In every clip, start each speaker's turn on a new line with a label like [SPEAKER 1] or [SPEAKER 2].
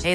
[SPEAKER 1] Hey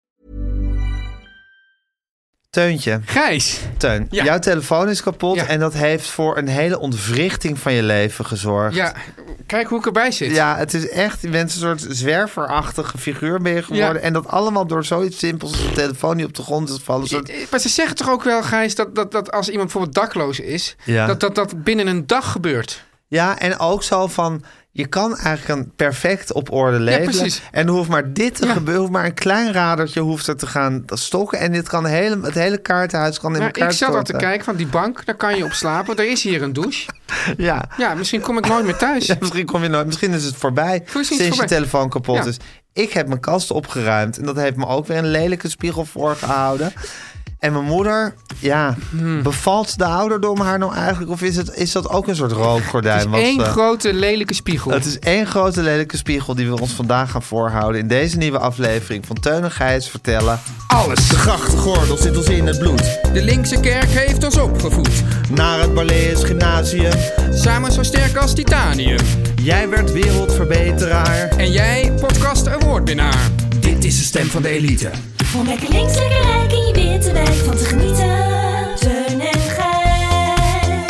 [SPEAKER 2] Teuntje,
[SPEAKER 3] Gijs.
[SPEAKER 2] Teun,
[SPEAKER 3] Ja.
[SPEAKER 2] jouw telefoon is kapot
[SPEAKER 3] Ja.
[SPEAKER 2] en dat heeft voor een hele ontwrichting van je leven gezorgd.
[SPEAKER 3] Ja, kijk hoe ik erbij zit.
[SPEAKER 2] Ja, het is echt, je bent een soort zwerverachtige figuur ben je geworden.
[SPEAKER 3] Ja.
[SPEAKER 2] En dat allemaal door zoiets simpels als een telefoon die op de grond is gevallen. Een soort-
[SPEAKER 3] Maar ze zeggen toch ook wel, Gijs, dat, dat, dat als iemand bijvoorbeeld dakloos is,
[SPEAKER 2] Ja.
[SPEAKER 3] dat, dat dat binnen een dag gebeurt.
[SPEAKER 2] Ja, en ook zo van, je kan eigenlijk een perfect op orde leven.
[SPEAKER 3] precies.
[SPEAKER 2] en er hoeft maar dit te
[SPEAKER 3] Ja.
[SPEAKER 2] gebeuren, hoeft maar een klein radertje hoeft er te gaan stokken. En dit kan hele, het hele kaartenhuis kan in
[SPEAKER 3] Maar
[SPEAKER 2] elkaar
[SPEAKER 3] Nou, ik zat al te
[SPEAKER 2] storten.
[SPEAKER 3] kijken van die bank, daar kan je op slapen. Er is hier een douche.
[SPEAKER 2] Ja.
[SPEAKER 3] Ja, misschien kom ik nooit meer thuis.
[SPEAKER 2] Ja, misschien, kom je nooit, misschien is het voorbij
[SPEAKER 3] is het
[SPEAKER 2] sinds
[SPEAKER 3] voorbij.
[SPEAKER 2] je telefoon kapot
[SPEAKER 3] Ja.
[SPEAKER 2] is. Ik heb mijn kast opgeruimd en dat heeft me ook weer een lelijke spiegel voorgehouden. En mijn moeder, ja,
[SPEAKER 3] Hmm.
[SPEAKER 2] bevalt de ouderdom haar nou eigenlijk? Of is, het, is dat ook een soort rookgordijn?
[SPEAKER 3] Het is
[SPEAKER 2] wat
[SPEAKER 3] één
[SPEAKER 2] ze-
[SPEAKER 3] grote lelijke spiegel.
[SPEAKER 2] eh, het is één grote lelijke spiegel die we ons vandaag gaan voorhouden... in deze nieuwe aflevering van Teun en Gijs vertellen...
[SPEAKER 3] alles.
[SPEAKER 2] Grachtgordel zit ons in het bloed.
[SPEAKER 3] De linkse kerk heeft ons opgevoed.
[SPEAKER 2] Naar het Barlees Gymnasium.
[SPEAKER 3] Samen zo sterk als titanium.
[SPEAKER 2] Jij werd wereldverbeteraar.
[SPEAKER 3] En jij, podcast awardwinnaar.
[SPEAKER 4] Dit is de stem van de elite.
[SPEAKER 5] Om lekker links, lekker rijk in je witte wijk van te genieten. Teun en Gijs.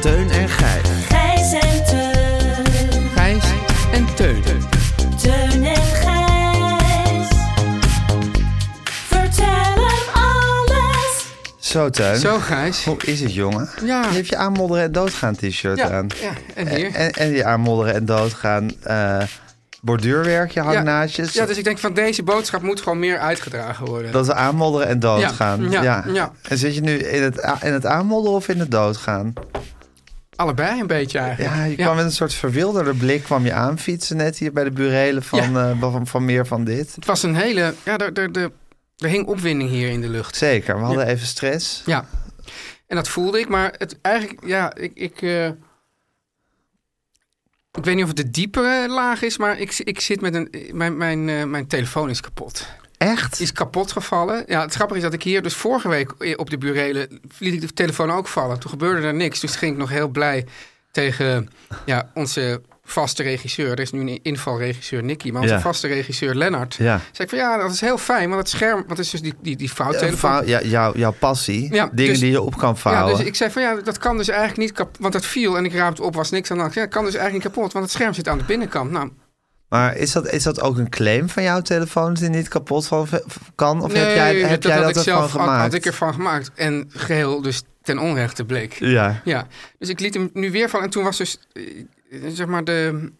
[SPEAKER 2] Teun en Gijs.
[SPEAKER 5] Gijs en Teun.
[SPEAKER 3] Gijs en Teun.
[SPEAKER 5] Teun en Gijs. Vertel hem alles.
[SPEAKER 2] Zo, Teun.
[SPEAKER 3] Zo, Gijs.
[SPEAKER 2] Hoe is het, jongen?
[SPEAKER 3] Ja.
[SPEAKER 2] Je hebt je aanmodderen en doodgaan t-shirt
[SPEAKER 3] Ja,
[SPEAKER 2] aan.
[SPEAKER 3] ja, en hier.
[SPEAKER 2] En, en je aanmodderen en doodgaan eh, borduurwerk, je hangnaadjes.
[SPEAKER 3] Ja, dus ik denk van deze boodschap moet gewoon meer uitgedragen worden.
[SPEAKER 2] Dat we aanmodderen en doodgaan.
[SPEAKER 3] Ja, ja, ja.
[SPEAKER 2] En zit je nu in het, a- in het aanmodderen of in het doodgaan?
[SPEAKER 3] Allebei een beetje eigenlijk.
[SPEAKER 2] Ja, je kwam met een soort verwilderde blik kwam je aanfietsen net hier bij de burelen van, eh, van, van meer van dit.
[SPEAKER 3] Het was een hele... Ja, er, er, er, er hing opwinding hier in de lucht.
[SPEAKER 2] Zeker, we hadden even stress.
[SPEAKER 3] Ja. En dat voelde ik, maar het, eigenlijk... Ja, ik... Ik, eh, ik weet niet of het de diepere laag is, maar ik, ik zit met een... Mijn, mijn, eh, mijn telefoon is kapot.
[SPEAKER 2] Echt?
[SPEAKER 3] Is kapot gevallen. Ja, het grappige is dat ik hier dus vorige week op de burelen liet ik de telefoon ook vallen. Toen gebeurde er niks. Dus ging ik nog heel blij tegen ja, onze vaste regisseur. Er is nu een invalregisseur Nicky, maar onze
[SPEAKER 2] Ja.
[SPEAKER 3] vaste regisseur Lennart.
[SPEAKER 2] Ja.
[SPEAKER 3] Zei ik van ja, dat is heel fijn, want het scherm, wat is dus die, die, die fouttelefoon.
[SPEAKER 2] Vou- Ja, jou, jouw passie,
[SPEAKER 3] Ja,
[SPEAKER 2] dingen
[SPEAKER 3] dus-
[SPEAKER 2] die je op kan
[SPEAKER 3] Ja,
[SPEAKER 2] vouwen.
[SPEAKER 3] dus ik zei van ja, dat kan dus eigenlijk niet kapot. Want dat viel en ik raapte op, was niks aan de hand. Ja, dat kan dus eigenlijk niet kapot, want het scherm zit aan de binnenkant. Nou,
[SPEAKER 2] Maar is dat, is dat ook een claim van jouw telefoon dat die niet kapot van, kan? Of heb jij, heb jij dat,
[SPEAKER 3] had ik
[SPEAKER 2] ervan
[SPEAKER 3] zelf had,
[SPEAKER 2] gemaakt?
[SPEAKER 3] had ik ervan gemaakt. En geheel dus ten onrechte bleek.
[SPEAKER 2] Ja.
[SPEAKER 3] Ja, dus ik liet hem nu weer vallen. En toen was dus, eh, zeg maar, de,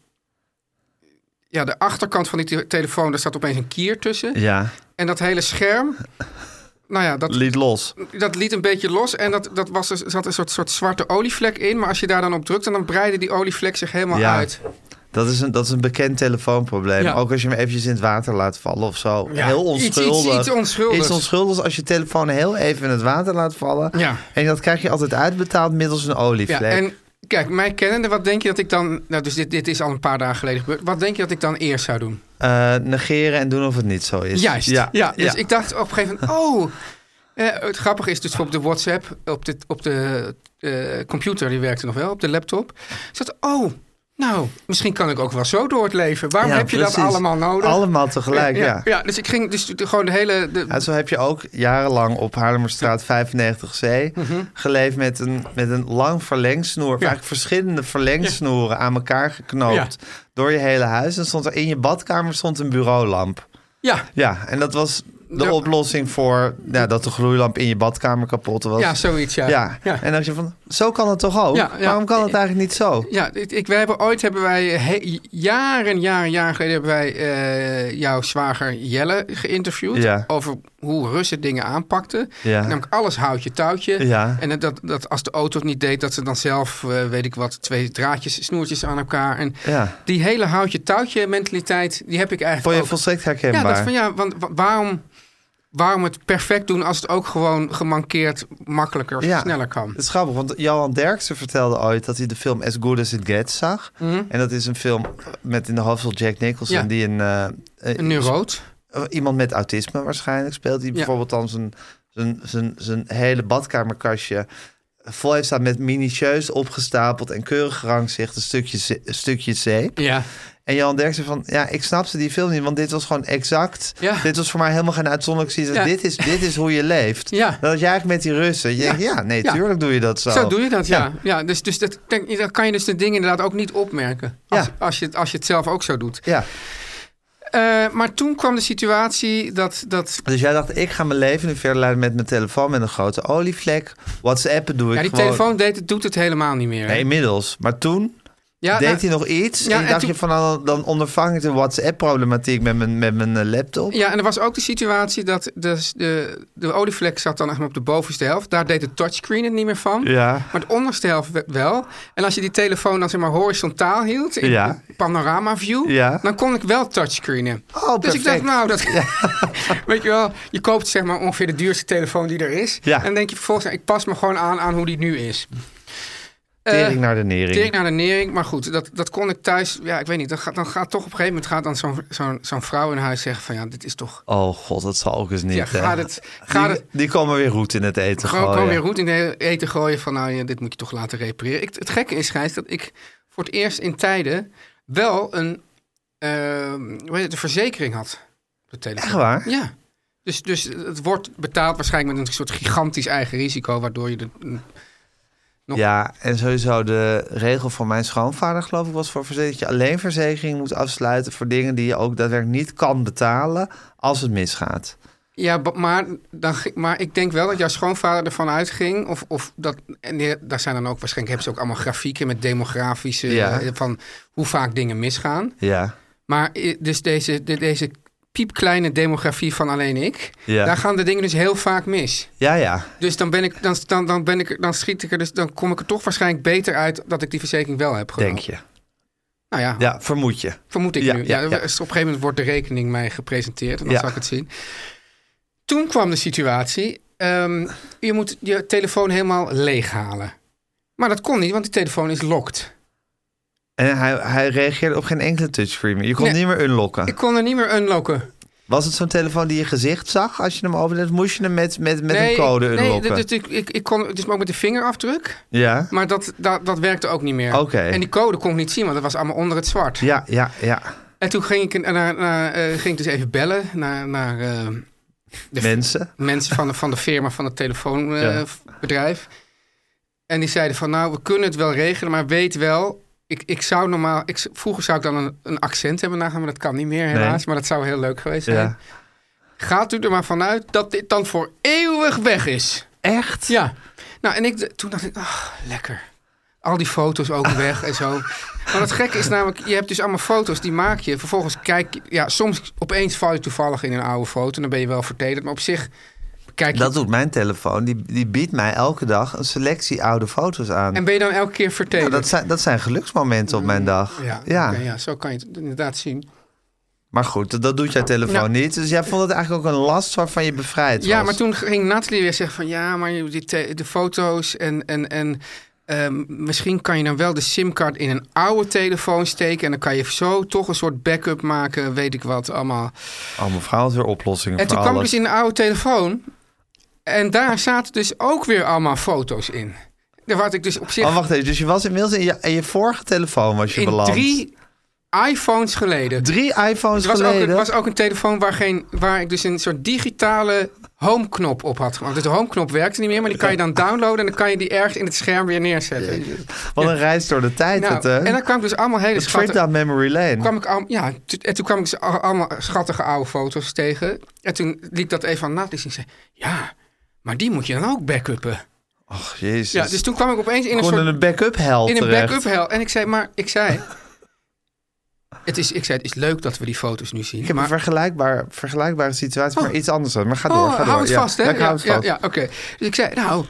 [SPEAKER 3] ja, de achterkant van die te- telefoon, daar zat opeens een kier tussen.
[SPEAKER 2] ja,
[SPEAKER 3] En dat hele scherm, nou ja, dat,
[SPEAKER 2] liet los.
[SPEAKER 3] dat liet een beetje los. En dat, dat was, dus- er zat een soort, soort zwarte olievlek in. Maar als je daar dan op drukte, dan breidde die olievlek zich helemaal
[SPEAKER 2] Ja.
[SPEAKER 3] uit.
[SPEAKER 2] Dat is een, dat is een bekend telefoonprobleem.
[SPEAKER 3] Ja.
[SPEAKER 2] Ook als je hem eventjes in het water laat vallen of zo.
[SPEAKER 3] Ja,
[SPEAKER 2] Heel
[SPEAKER 3] iets- iets-
[SPEAKER 2] onschuldig.
[SPEAKER 3] iets onschuldigs.
[SPEAKER 2] Iets onschuldigs als je telefoon heel even in het water laat vallen.
[SPEAKER 3] Ja.
[SPEAKER 2] En dat krijg je altijd uitbetaald middels een
[SPEAKER 3] Ja,
[SPEAKER 2] olievlek.
[SPEAKER 3] en kijk, mij kennende, wat denk je dat ik dan... Nou, dus dit, dit is al een paar dagen geleden gebeurd. Wat denk je dat ik dan eerst zou doen?
[SPEAKER 2] Eh, negeren en doen of het niet zo is.
[SPEAKER 3] Juist, ja. dus
[SPEAKER 2] ja.
[SPEAKER 3] ik dacht op een gegeven moment, oh... Eh, het grappige is dus op de WhatsApp, op de, op de eh, computer, die werkte nog wel, op de laptop. Ik dacht, oh, Nou, misschien kan ik ook wel zo door het leven. Waarom
[SPEAKER 6] Ja,
[SPEAKER 3] heb je dat
[SPEAKER 6] precies.
[SPEAKER 3] allemaal nodig?
[SPEAKER 6] Allemaal tegelijk, ja.
[SPEAKER 3] ja. dus ik ging dus de- gewoon de hele... De,
[SPEAKER 6] Ja, zo heb je ook jarenlang op Haarlemmerstraat 95C geleefd met een, met een lang verlengsnoer. of
[SPEAKER 3] Mhm. Ja.
[SPEAKER 6] Eigenlijk verschillende verlengsnoeren aan elkaar geknoopt door je hele huis. En stond er in je badkamer stond een bureaulamp.
[SPEAKER 3] ja,
[SPEAKER 6] Ja, en dat was de
[SPEAKER 3] Ja.
[SPEAKER 6] oplossing voor nou, dat de gloeilamp in je badkamer kapot was.
[SPEAKER 3] ja, zoiets, ja.
[SPEAKER 6] Ja.
[SPEAKER 3] ja.
[SPEAKER 6] en als je van, zo kan het toch ook?
[SPEAKER 3] Ja, ja.
[SPEAKER 6] Waarom kan het eigenlijk niet zo?
[SPEAKER 3] Ja, ik, ik- wij hebben ooit hebben wij eh, he- jaren, jaren, jaren geleden hebben wij eh, jouw zwager Jelle geïnterviewd
[SPEAKER 6] Ja.
[SPEAKER 3] over hoe Russen dingen aanpakten.
[SPEAKER 6] Ja.
[SPEAKER 3] Namelijk alles houtje touwtje.
[SPEAKER 6] Ja.
[SPEAKER 3] En dat, dat als de auto het niet deed, dat ze dan zelf, eh, weet ik wat, twee draadjes, snoertjes aan elkaar. En
[SPEAKER 6] Ja.
[SPEAKER 3] die hele houtje touwtje mentaliteit, die heb ik
[SPEAKER 6] Vond
[SPEAKER 3] eigenlijk
[SPEAKER 6] je
[SPEAKER 3] ook.
[SPEAKER 6] volstrekt
[SPEAKER 3] ja,
[SPEAKER 6] herkenbaar?
[SPEAKER 3] dat van ja, want wa- waarom, waarom het perfect doen als het ook gewoon gemankeerd makkelijker,
[SPEAKER 6] Ja.
[SPEAKER 3] sneller kan?
[SPEAKER 6] Het is grappig, want Johan Derksen vertelde ooit dat hij de film As Good As It Gets zag. En dat is een film met in de hoofdrol Jack Nicholson,
[SPEAKER 3] Mhm. Ja.
[SPEAKER 6] die een, eh, eh,
[SPEAKER 3] Een neuroot.
[SPEAKER 6] eh, iemand met autisme waarschijnlijk speelt. Die
[SPEAKER 3] Ja.
[SPEAKER 6] bijvoorbeeld dan zijn, zijn, zijn, zijn hele badkamerkastje vol heeft staan met minutieus opgestapeld en keurig gerangschicht een stukje, ze- een stukje zeep.
[SPEAKER 3] Ja.
[SPEAKER 6] En Johan Derksen van, ja, ik snapte die film niet, want dit was gewoon exact.
[SPEAKER 3] Ja.
[SPEAKER 6] Dit was voor mij helemaal geen uitzonderlijk situatie.
[SPEAKER 3] Ja.
[SPEAKER 6] Dit, is, dit is hoe je leeft.
[SPEAKER 3] Ja.
[SPEAKER 6] Dat had jij eigenlijk met die Russen. Je denkt, ja, nee,
[SPEAKER 3] Ja.
[SPEAKER 6] tuurlijk doe je dat zo.
[SPEAKER 3] Zo doe je dat, ja. ja. dus dus dat, denk, je- dan kan je dus de dingen inderdaad ook niet opmerken. Als,
[SPEAKER 6] Ja.
[SPEAKER 3] als, je, het- als je het zelf ook zo doet.
[SPEAKER 6] Ja,
[SPEAKER 3] Eh, maar toen kwam de situatie dat... dat
[SPEAKER 6] dus jij dacht, ik ga mijn leven nu verder leiden met mijn telefoon met een grote olievlek. WhatsAppen doe ik
[SPEAKER 3] ja, die
[SPEAKER 6] gewoon.
[SPEAKER 3] telefoon deed, het- doet het helemaal niet meer. hè?
[SPEAKER 6] Nee, inmiddels. Maar toen
[SPEAKER 3] ja,
[SPEAKER 6] deed
[SPEAKER 3] nou,
[SPEAKER 6] hij nog iets.
[SPEAKER 3] Ja,
[SPEAKER 6] en je
[SPEAKER 3] en
[SPEAKER 6] dacht
[SPEAKER 3] toen-
[SPEAKER 6] je van, dan, dan ondervang ik de WhatsApp-problematiek met mijn, met mijn eh, laptop.
[SPEAKER 3] ja, en er was ook de situatie dat de, de, de olievlek zat dan echt op de bovenste helft. Daar deed de touchscreen het niet meer van.
[SPEAKER 6] Ja.
[SPEAKER 3] Maar de onderste helft we- wel. En als je die telefoon dan zeg maar horizontaal hield, in
[SPEAKER 6] Ja.
[SPEAKER 3] panorama view,
[SPEAKER 6] Ja.
[SPEAKER 3] dan kon ik wel touchscreenen.
[SPEAKER 6] Oh,
[SPEAKER 3] dus ik dacht,
[SPEAKER 6] perfect.
[SPEAKER 3] nou, dat, weet je wel, je koopt zeg maar ongeveer de duurste telefoon die er is.
[SPEAKER 6] Ja.
[SPEAKER 3] En dan denk je vervolgens, nou, ik pas me gewoon aan aan hoe die nu is. Eh,
[SPEAKER 6] Tering naar de nering.
[SPEAKER 3] Tering naar de nering, maar goed, dat, dat kon ik thuis. Ja, ik weet niet. Dan gaat, dan gaat toch op een gegeven moment gaat dan zo'n zo'n zo'n vrouw in huis zeggen van ja, dit is toch.
[SPEAKER 6] Oh god, dat zal ook eens niet.
[SPEAKER 3] Ja,
[SPEAKER 6] hè.
[SPEAKER 3] gaat het, gaat
[SPEAKER 6] die,
[SPEAKER 3] het
[SPEAKER 6] die komen weer roet in het eten
[SPEAKER 3] gewoon,
[SPEAKER 6] gooien.
[SPEAKER 3] gewoon weer roet in de eten gooien van nou ja, dit moet je toch laten repareren. Ik, het gekke is, Gijs, dat ik voor het eerst in tijden wel een, eh, hoe heet het, een verzekering had op de telefoon.
[SPEAKER 6] Echt waar?
[SPEAKER 3] Ja. Dus, dus het wordt betaald waarschijnlijk met een soort gigantisch eigen risico, waardoor je de. Nog-
[SPEAKER 6] Ja, en sowieso de regel van mijn schoonvader, geloof ik, was voor verzekering dat je alleen verzekering moet afsluiten voor dingen die je ook daadwerkelijk niet kan betalen als het misgaat.
[SPEAKER 3] Ja, ba- maar, dan, ging- maar ik denk wel dat jouw schoonvader ervan uitging. Of, of dat, en die- daar zijn dan ook waarschijnlijk hebben ze ook allemaal grafieken met demografische.
[SPEAKER 6] Ja.
[SPEAKER 3] eh, van hoe vaak dingen misgaan.
[SPEAKER 6] Ja.
[SPEAKER 3] Maar eh, dus deze, de- deze piepkleine demografie van alleen ik.
[SPEAKER 6] Ja.
[SPEAKER 3] Daar gaan de dingen dus heel vaak mis.
[SPEAKER 6] Ja, ja.
[SPEAKER 3] Dus dan ben ik, dan, dan, dan ben ik, er- dan schiet ik er, dus dan kom ik er toch waarschijnlijk beter uit dat ik die verzekering wel heb genomen.
[SPEAKER 6] Denk je.
[SPEAKER 3] Nou ja,
[SPEAKER 6] Ja, vermoed je.
[SPEAKER 3] Vermoed ik
[SPEAKER 6] Ja,
[SPEAKER 3] nu.
[SPEAKER 6] ja,
[SPEAKER 3] Ja,
[SPEAKER 6] ja.
[SPEAKER 3] Op een gegeven moment wordt de rekening mij gepresenteerd. En dan
[SPEAKER 6] Ja.
[SPEAKER 3] zal ik het zien. Toen kwam de situatie. ehm, je moet je telefoon helemaal leeghalen. Maar dat kon niet, want die telefoon is locked.
[SPEAKER 6] En hij, hij reageerde op geen enkele touchscreen. meer. Je kon
[SPEAKER 3] Nee.
[SPEAKER 6] niet meer unlocken.
[SPEAKER 3] Ik kon er niet meer unlocken.
[SPEAKER 6] Was het zo'n telefoon die je gezicht zag als je hem opende? Moest je hem met, met, met
[SPEAKER 3] Nee,
[SPEAKER 6] een code
[SPEAKER 3] nee,
[SPEAKER 6] unlocken?
[SPEAKER 3] dus ik, ik, ik kon dus ook met de vingerafdruk.
[SPEAKER 6] Ja.
[SPEAKER 3] Maar dat, dat, dat werkte ook niet meer.
[SPEAKER 6] Oké.
[SPEAKER 3] En die code kon ik niet zien, want dat was allemaal onder het zwart.
[SPEAKER 6] Ja, ja, ja.
[SPEAKER 3] En toen ging ik, naar, naar, eh, ging ik dus even bellen naar, naar eh, de
[SPEAKER 6] Mensen.
[SPEAKER 3] mensen van de, van de firma van het
[SPEAKER 6] Ja.
[SPEAKER 3] telefoonbedrijf. En die zeiden van, nou, we kunnen het wel regelen, maar weet wel... Ik, ik zou normaal, ik, z- vroeger zou ik dan een, een accent hebben nagaan, maar dat kan niet meer helaas. Maar dat zou heel leuk geweest zijn.
[SPEAKER 6] Ja.
[SPEAKER 3] Gaat u er maar vanuit dat dit dan voor eeuwig weg is?
[SPEAKER 6] Echt?
[SPEAKER 3] Ja. Nou, en ik, d- toen dacht ik, ach, lekker. Al die foto's ook weg en zo. Maar het gekke is namelijk, je hebt dus allemaal foto's, die maak je. Vervolgens kijk je- ja, soms opeens val je toevallig in een oude foto. En dan ben je wel vertederd. Maar op zich kijk je
[SPEAKER 6] Dat doet mijn telefoon. Die, die biedt mij elke dag een selectie oude foto's aan.
[SPEAKER 3] En ben je dan elke keer
[SPEAKER 6] Ja,
[SPEAKER 3] vertederd?
[SPEAKER 6] dat, zijn, dat zijn geluksmomenten op mijn dag.
[SPEAKER 3] ja, oké, ja, zo kan je het inderdaad zien.
[SPEAKER 6] Maar goed, dat, dat doet jouw telefoon
[SPEAKER 3] Nou.
[SPEAKER 6] niet. Dus jij vond het eigenlijk ook een last waarvan je bevrijd was.
[SPEAKER 3] Ja, maar toen ging Natalie weer zeggen van... ja, maar je- die te- de foto's en... en, en ehm, misschien kan je dan wel de simcard in een oude telefoon steken... en dan kan je zo toch een soort backup maken, weet ik wat, allemaal.
[SPEAKER 6] Oh, mevrouw had weer oplossingen
[SPEAKER 3] En
[SPEAKER 6] voor
[SPEAKER 3] toen kwam ik
[SPEAKER 6] alles.
[SPEAKER 3] dus in een oude telefoon... en daar zaten dus ook weer allemaal foto's in. daar had ik dus op zich...
[SPEAKER 6] Oh, wacht even. Dus je was inmiddels in je, in je vorige telefoon was je
[SPEAKER 3] in
[SPEAKER 6] beland.
[SPEAKER 3] drie iPhones geleden.
[SPEAKER 6] Drie iPhones
[SPEAKER 3] Het was ook,
[SPEAKER 6] geleden.
[SPEAKER 3] het was ook een telefoon waar, geen, waar ik dus een soort digitale homeknop op had gemaakt. Dus de homeknop werkte niet meer, maar die kan je dan downloaden... en dan kan je die ergens in het scherm weer neerzetten.
[SPEAKER 6] Wat een reis door de tijd.
[SPEAKER 3] Nou,
[SPEAKER 6] het, hè?
[SPEAKER 3] en dan kwam ik dus allemaal hele
[SPEAKER 6] Een trip
[SPEAKER 3] schattige...
[SPEAKER 6] down memory lane.
[SPEAKER 3] Kwam ik al, ja, t- en toen kwam ik dus al- allemaal schattige oude foto's tegen. En toen liet dat even aan Nathalie zien. Ze zei, ja, maar die moet je dan ook backuppen.
[SPEAKER 6] Och, jezus.
[SPEAKER 3] Ja, dus toen kwam ik opeens in een
[SPEAKER 6] Gewoon
[SPEAKER 3] soort
[SPEAKER 6] in een backup hel
[SPEAKER 3] in een
[SPEAKER 6] terecht.
[SPEAKER 3] backup hel. En ik zei, maar ik zei, het is, ik zei, het is leuk dat we die foto's nu zien.
[SPEAKER 6] Ik heb
[SPEAKER 3] maar,
[SPEAKER 6] een vergelijkbaar, vergelijkbare situatie, maar iets anders. dan. Maar ga door,
[SPEAKER 3] oh,
[SPEAKER 6] ga door.
[SPEAKER 3] hou het
[SPEAKER 6] Ja,
[SPEAKER 3] vast, hè?
[SPEAKER 6] ja, ik hou het
[SPEAKER 3] ja,
[SPEAKER 6] vast.
[SPEAKER 3] ja, oké. Dus ik zei, nou,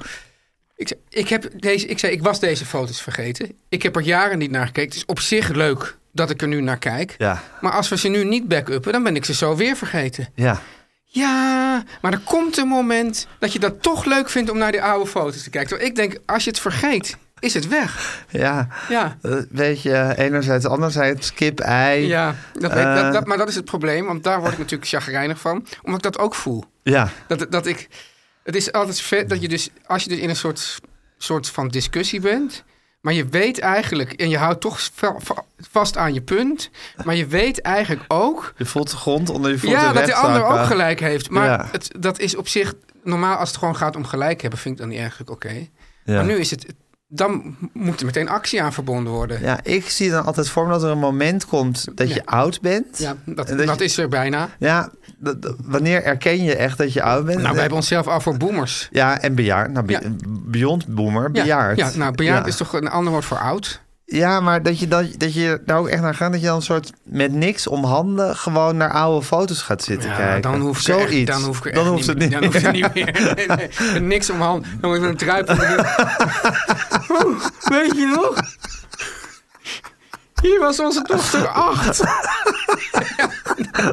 [SPEAKER 3] ik, zei, ik, heb deze, ik, zei, ik was deze foto's vergeten. Ik heb er jaren niet naar gekeken. Het is op zich leuk dat ik er nu naar kijk.
[SPEAKER 6] Ja.
[SPEAKER 3] Maar als we ze nu niet backuppen, dan ben ik ze zo weer vergeten.
[SPEAKER 6] Ja.
[SPEAKER 3] Ja, maar er komt een moment dat je dat toch leuk vindt om naar die oude foto's te kijken. Terwijl ik denk, als je het vergeet, is het weg.
[SPEAKER 6] Ja.
[SPEAKER 3] Ja.
[SPEAKER 6] Eh, Weet je, enerzijds, anderzijds, kip, ei.
[SPEAKER 3] Ja, dat weet-
[SPEAKER 6] Eh.
[SPEAKER 3] dat, dat, maar dat is het probleem, want daar word ik natuurlijk chagrijnig van. Omdat ik dat ook voel.
[SPEAKER 6] Ja.
[SPEAKER 3] Dat, dat ik, het is altijd vet dat je dus, als je dus in een soort, soort van discussie bent, maar je weet eigenlijk, en je houdt toch va- va- vast aan je punt, maar je weet eigenlijk ook
[SPEAKER 6] Je voelt de grond onder je voeten
[SPEAKER 3] ja, dat de ander
[SPEAKER 6] wegzakken.
[SPEAKER 3] ook gelijk heeft. Maar
[SPEAKER 6] Ja.
[SPEAKER 3] het, dat is op zich, normaal als het gewoon gaat om gelijk hebben, vind ik dan niet erg oké.
[SPEAKER 6] Ja.
[SPEAKER 3] Maar nu is het, dan moet er meteen actie aan verbonden worden.
[SPEAKER 6] Ja, ik zie dan altijd voor me dat er een moment komt dat je
[SPEAKER 3] Ja.
[SPEAKER 6] oud bent.
[SPEAKER 3] Ja, dat,
[SPEAKER 6] En dat
[SPEAKER 3] dat
[SPEAKER 6] je-
[SPEAKER 3] is er bijna.
[SPEAKER 6] Ja, dat- dat- wanneer erken je echt dat je oud bent? Eh,
[SPEAKER 3] Nou, we hebben onszelf al voor boomers.
[SPEAKER 6] Ja, en bejaard. Nou, be-
[SPEAKER 3] Ja.
[SPEAKER 6] beyond boomer, bejaard.
[SPEAKER 3] Ja, ja, nou, bejaard
[SPEAKER 6] Ja.
[SPEAKER 3] is toch een ander woord voor oud?
[SPEAKER 6] Ja, maar dat je, dat, dat je daar ook echt naar gaat... dat je dan een soort met niks om handen... gewoon naar oude foto's gaat zitten kijken.
[SPEAKER 3] dan hoef ik er
[SPEAKER 6] Zoiets.
[SPEAKER 3] echt, dan hoef ik er
[SPEAKER 6] dan
[SPEAKER 3] echt
[SPEAKER 6] hoeft het
[SPEAKER 3] niet
[SPEAKER 6] niet
[SPEAKER 3] meer. Dan hoeft het niet meer. Nee, nee, nee. Niks om hand. Dan moet ik een druip onder de- Oeh, Weet je nog? Hier was onze dochter acht.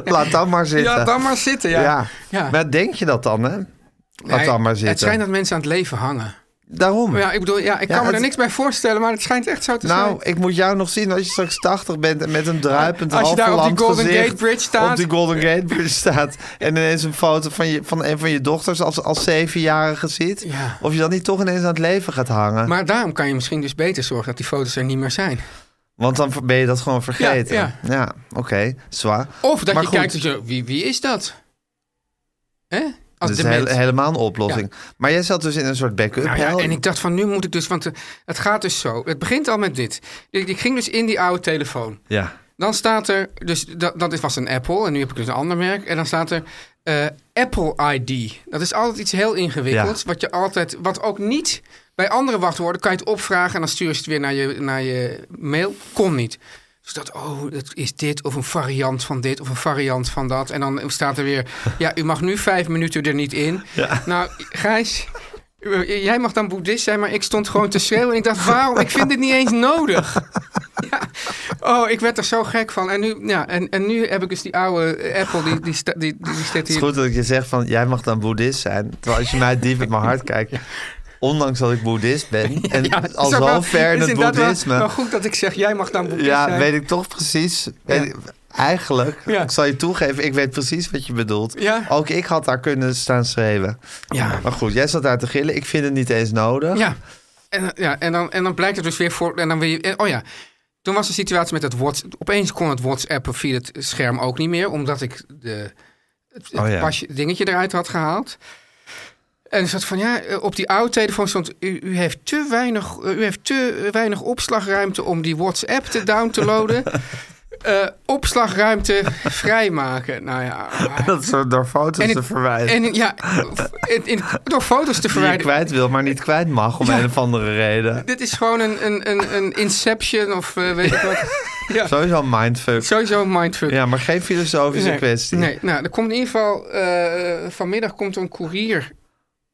[SPEAKER 6] Laat dan maar zitten.
[SPEAKER 3] Ja, dan maar zitten. Ja.
[SPEAKER 6] Ja.
[SPEAKER 3] Ja.
[SPEAKER 6] Maar denk je dat dan, hè? Laat
[SPEAKER 3] Nee,
[SPEAKER 6] dan maar zitten.
[SPEAKER 3] Het schijnt dat mensen aan het leven hangen.
[SPEAKER 6] Daarom.
[SPEAKER 3] Maar ja, ik bedoel, ja, ik
[SPEAKER 6] Ja,
[SPEAKER 3] kan me
[SPEAKER 6] het-
[SPEAKER 3] er niks bij voorstellen, maar het schijnt echt zo te
[SPEAKER 6] nou,
[SPEAKER 3] zijn.
[SPEAKER 6] ik moet jou nog zien als je straks 80 bent en met een druipend
[SPEAKER 3] Als je daar op die
[SPEAKER 6] halfverlamd
[SPEAKER 3] Golden
[SPEAKER 6] gezicht
[SPEAKER 3] Gate Bridge staat.
[SPEAKER 6] Op die Golden Gate Bridge staat. En ineens een foto van, je, van een van je dochters als, als zevenjarige ziet.
[SPEAKER 3] Ja.
[SPEAKER 6] Of je dan niet toch ineens aan het leven gaat hangen.
[SPEAKER 3] Maar daarom kan je misschien dus beter zorgen dat die foto's er niet meer zijn.
[SPEAKER 6] Want dan ben je dat gewoon vergeten.
[SPEAKER 3] Ja,
[SPEAKER 6] oké. Zwaar.
[SPEAKER 3] Of dat
[SPEAKER 6] Maar
[SPEAKER 3] je
[SPEAKER 6] goed.
[SPEAKER 3] kijkt en zo, wie, wie is dat? Hè? Als
[SPEAKER 6] Dat is
[SPEAKER 3] de
[SPEAKER 6] he- helemaal een oplossing. Maar jij zat dus in een soort backup.
[SPEAKER 3] Nou ja,
[SPEAKER 6] hel.
[SPEAKER 3] en ik dacht van nu moet ik dus, want eh, het gaat dus zo. Het begint al met dit. Ik, ik ging dus in die oude telefoon.
[SPEAKER 6] ja.
[SPEAKER 3] Dan staat er, dus dat, dat is- was een Apple en nu heb ik dus een ander merk. En dan staat er eh, Apple ID. Dat is altijd iets heel ingewikkelds, wat je altijd, wat ook niet bij andere wachtwoorden kan je het opvragen en dan stuur je het weer naar je, naar je mail. Kon niet. Dus dat, oh, dat is dit of een variant van dit of een variant van dat. En dan staat er weer, ja, u mag nu vijf minuten er niet in. Nou, Gijs, eh, jij mag dan boeddhist zijn, maar ik stond gewoon te schreeuwen. En ik dacht, waarom? Ik vind dit niet eens nodig. Ja. Oh, ik werd er zo gek van. En nu, ja, en, en nu heb ik dus die oude eh, Apple, die, die, sta- die, die, die staat
[SPEAKER 6] Het is
[SPEAKER 3] hier.
[SPEAKER 6] goed dat ik je zeg van, jij mag dan boeddhist zijn. Terwijl als je mij diep in mijn hart kijkt... Ondanks dat ik boeddhist ben en
[SPEAKER 3] is
[SPEAKER 6] al
[SPEAKER 3] ook wel-
[SPEAKER 6] zo ver in
[SPEAKER 3] is
[SPEAKER 6] het
[SPEAKER 3] inderdaad wel-
[SPEAKER 6] boeddhisme...
[SPEAKER 3] Wel goed dat ik zeg, jij mag dan boeddhist
[SPEAKER 6] Ja,
[SPEAKER 3] zijn.
[SPEAKER 6] weet ik toch precies. Weet ik- eigenlijk,
[SPEAKER 3] Ja.
[SPEAKER 6] ik zal je toegeven, ik weet precies wat je bedoelt.
[SPEAKER 3] Ja.
[SPEAKER 6] Ook ik had daar kunnen staan schreeuwen.
[SPEAKER 3] Ja.
[SPEAKER 6] Maar goed, jij zat daar te gillen. Ik vind het niet eens nodig.
[SPEAKER 3] Ja, en, ja en, dan, en dan blijkt het dus weer voor. En dan wil je, en- oh ja, toen was de situatie met het WhatsApp. Opeens kon het WhatsApp via het scherm ook niet meer, omdat ik de, het, het
[SPEAKER 6] Oh ja.
[SPEAKER 3] pasje, dingetje eruit had gehaald. En er zat van ja, eh, op die oude telefoon stond: u, u, heeft te weinig, eh, u heeft te weinig opslagruimte om die WhatsApp te down te loaden. Eh, opslagruimte vrijmaken. Nou ja.
[SPEAKER 6] Dat is door- door foto's
[SPEAKER 3] en
[SPEAKER 6] te
[SPEAKER 3] het-
[SPEAKER 6] verwijzen.
[SPEAKER 3] En ja, in, in- door foto's te
[SPEAKER 6] die je
[SPEAKER 3] verwijderen.
[SPEAKER 6] kwijt wil, maar niet kwijt mag om een of andere reden.
[SPEAKER 3] Dit is gewoon een, een, een, een Inception of eh, weet ik wat. Ja,
[SPEAKER 6] Sowieso een mindfuck.
[SPEAKER 3] sowieso een mindfuck.
[SPEAKER 6] Ja, maar geen filosofische
[SPEAKER 3] Nee,
[SPEAKER 6] kwestie.
[SPEAKER 3] Nee, nou, er komt in ieder geval... eh, vanmiddag komt er een koerier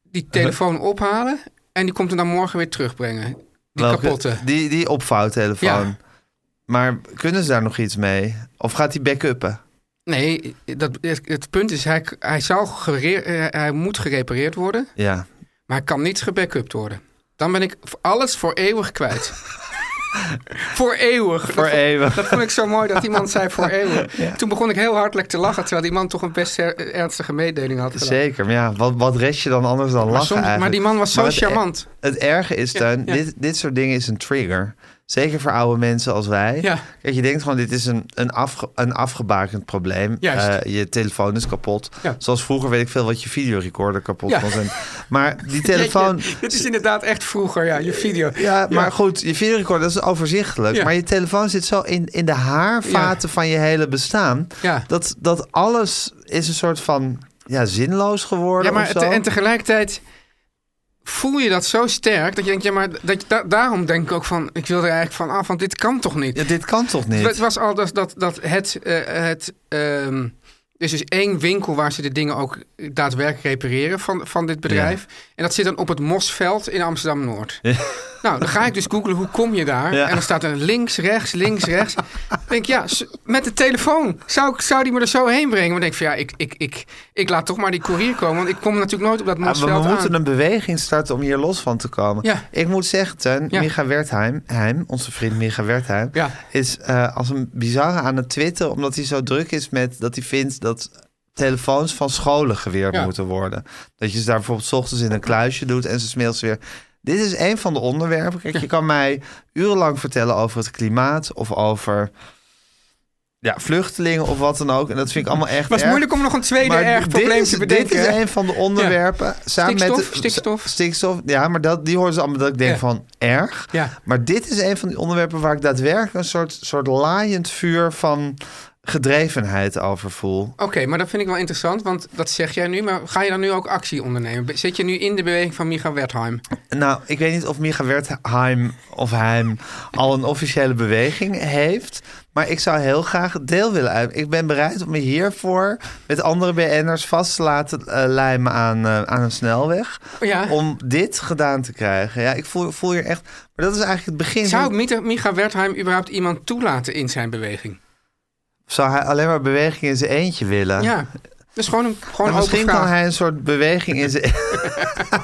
[SPEAKER 3] die telefoon ophalen... en die komt hem dan morgen weer terugbrengen. Die
[SPEAKER 6] Welke-
[SPEAKER 3] kapotte.
[SPEAKER 6] Die, die opvouwtelefoon.
[SPEAKER 3] Ja.
[SPEAKER 6] Maar kunnen ze daar nog iets mee? Of gaat die backuppen?
[SPEAKER 3] Nee, dat, het, het punt is, hij, hij, zal gere- eh, hij moet gerepareerd worden...
[SPEAKER 6] Ja.
[SPEAKER 3] maar hij kan niet gebackupt worden. Dan ben ik v- alles voor eeuwig kwijt. Voor eeuwig.
[SPEAKER 6] Voor
[SPEAKER 3] dat,
[SPEAKER 6] eeuwig.
[SPEAKER 3] dat vond ik zo mooi dat die man zei voor eeuwig. Toen begon ik heel hartelijk te lachen, terwijl die man toch een best her- ernstige mededeling had gedaan.
[SPEAKER 6] Zeker, maar ja, wat, wat rest je dan anders dan
[SPEAKER 3] Maar,
[SPEAKER 6] lachen
[SPEAKER 3] soms- maar
[SPEAKER 6] eigenlijk?
[SPEAKER 3] die man was zo
[SPEAKER 6] Maar het-
[SPEAKER 3] charmant.
[SPEAKER 6] Het erge is, Teun,
[SPEAKER 3] ja.
[SPEAKER 6] dit, dit soort dingen is een trigger. Zeker voor oude mensen als wij.
[SPEAKER 3] Ja.
[SPEAKER 6] Kijk, je denkt gewoon, dit is een, een, afge, een afgebakend probleem.
[SPEAKER 3] Juist.
[SPEAKER 6] Eh, je telefoon is kapot.
[SPEAKER 3] Ja.
[SPEAKER 6] Zoals vroeger weet ik veel wat je videorecorder kapot
[SPEAKER 3] Ja.
[SPEAKER 6] kon zijn. Maar die telefoon...
[SPEAKER 3] Ja, ja, dit is inderdaad echt vroeger, ja, je video.
[SPEAKER 6] Ja, maar goed, je videorecorder dat is overzichtelijk.
[SPEAKER 3] Ja.
[SPEAKER 6] Maar je telefoon zit zo in, in de haarvaten van je hele bestaan.
[SPEAKER 3] Ja.
[SPEAKER 6] Dat, dat alles is een soort van ja, zinloos geworden.
[SPEAKER 3] Ja, maar
[SPEAKER 6] of zo.
[SPEAKER 3] te- en tegelijkertijd voel je dat zo sterk dat je denkt, ja, maar dat, da- daarom denk ik ook van, ik wil er eigenlijk van af, want dit kan toch niet?
[SPEAKER 6] Ja, dit kan toch
[SPEAKER 3] Het
[SPEAKER 6] niet?
[SPEAKER 3] was al dat, dat, dat het, eh, het ehm, er is dus één winkel waar ze de dingen ook daadwerkelijk repareren van, van dit bedrijf. En dat zit dan op het Mosveld in Amsterdam-Noord. Nou, dan ga ik dus googlen hoe kom je daar.
[SPEAKER 6] Ja.
[SPEAKER 3] En dan staat er links, rechts, links, rechts. Dan denk ik, ja, s- met de telefoon. Zou, ik- zou die me er zo heen brengen? Maar dan denk ik van ja, ik, ik, ik, ik laat toch maar die courier komen. Want ik kom natuurlijk nooit op dat
[SPEAKER 6] Ja, maar
[SPEAKER 3] Mosveld
[SPEAKER 6] Ah, we
[SPEAKER 3] aan.
[SPEAKER 6] moeten een beweging starten om hier los van te komen.
[SPEAKER 3] Ja.
[SPEAKER 6] Ik moet zeggen, Teun,
[SPEAKER 3] Ja.
[SPEAKER 6] Micha Wertheim, Heim, onze vriend Micha Wertheim,
[SPEAKER 3] Ja.
[SPEAKER 6] is eh, als een bizarre aan het twitteren, omdat hij zo druk is met dat hij vindt dat telefoons van scholen geweerd
[SPEAKER 3] Ja.
[SPEAKER 6] moeten worden. Dat je ze daar bijvoorbeeld 's ochtends in een kluisje doet en ze smeelt weer. Dit is een van de onderwerpen. Kijk, je kan mij urenlang vertellen over het klimaat of over ja, vluchtelingen of wat dan ook. En dat vind ik allemaal echt
[SPEAKER 3] Het was
[SPEAKER 6] erg.
[SPEAKER 3] moeilijk om nog een tweede
[SPEAKER 6] Maar
[SPEAKER 3] erg
[SPEAKER 6] dit
[SPEAKER 3] probleem
[SPEAKER 6] is-
[SPEAKER 3] te bedenken.
[SPEAKER 6] Dit
[SPEAKER 3] hè?
[SPEAKER 6] is een van de onderwerpen. Samen met
[SPEAKER 3] Stikstof,
[SPEAKER 6] de-
[SPEAKER 3] stikstof.
[SPEAKER 6] Stikstof, ja, maar dat, die horen ze allemaal dat ik denk
[SPEAKER 3] Ja.
[SPEAKER 6] van erg.
[SPEAKER 3] Ja.
[SPEAKER 6] Maar dit is een van die onderwerpen waar ik daadwerkelijk een soort, soort laaiend vuur van gedrevenheid over voel.
[SPEAKER 3] Oké, maar dat vind ik wel interessant, want dat zeg jij nu. Maar ga je dan nu ook actie ondernemen? Be- Zit je nu in de beweging van Micha Wertheim?
[SPEAKER 6] Nou, ik weet niet of Micha Wertheim of Heim al een officiële beweging heeft. Maar ik zou heel graag deel willen uit. Ik ben bereid om me hiervoor met andere BN'ers vast te laten eh, lijmen aan, eh, aan een snelweg.
[SPEAKER 3] Ja.
[SPEAKER 6] Om dit gedaan te krijgen. Ja, ik voel, voel hier echt... Maar dat is eigenlijk het begin.
[SPEAKER 3] Zou Mita- Micha Wertheim überhaupt iemand toelaten in zijn beweging?
[SPEAKER 6] Zou hij alleen maar beweging in zijn eentje willen?
[SPEAKER 3] Ja, dus gewoon een gewoon
[SPEAKER 6] Nou,
[SPEAKER 3] open
[SPEAKER 6] misschien
[SPEAKER 3] vraag.
[SPEAKER 6] kan hij een soort beweging in zijn...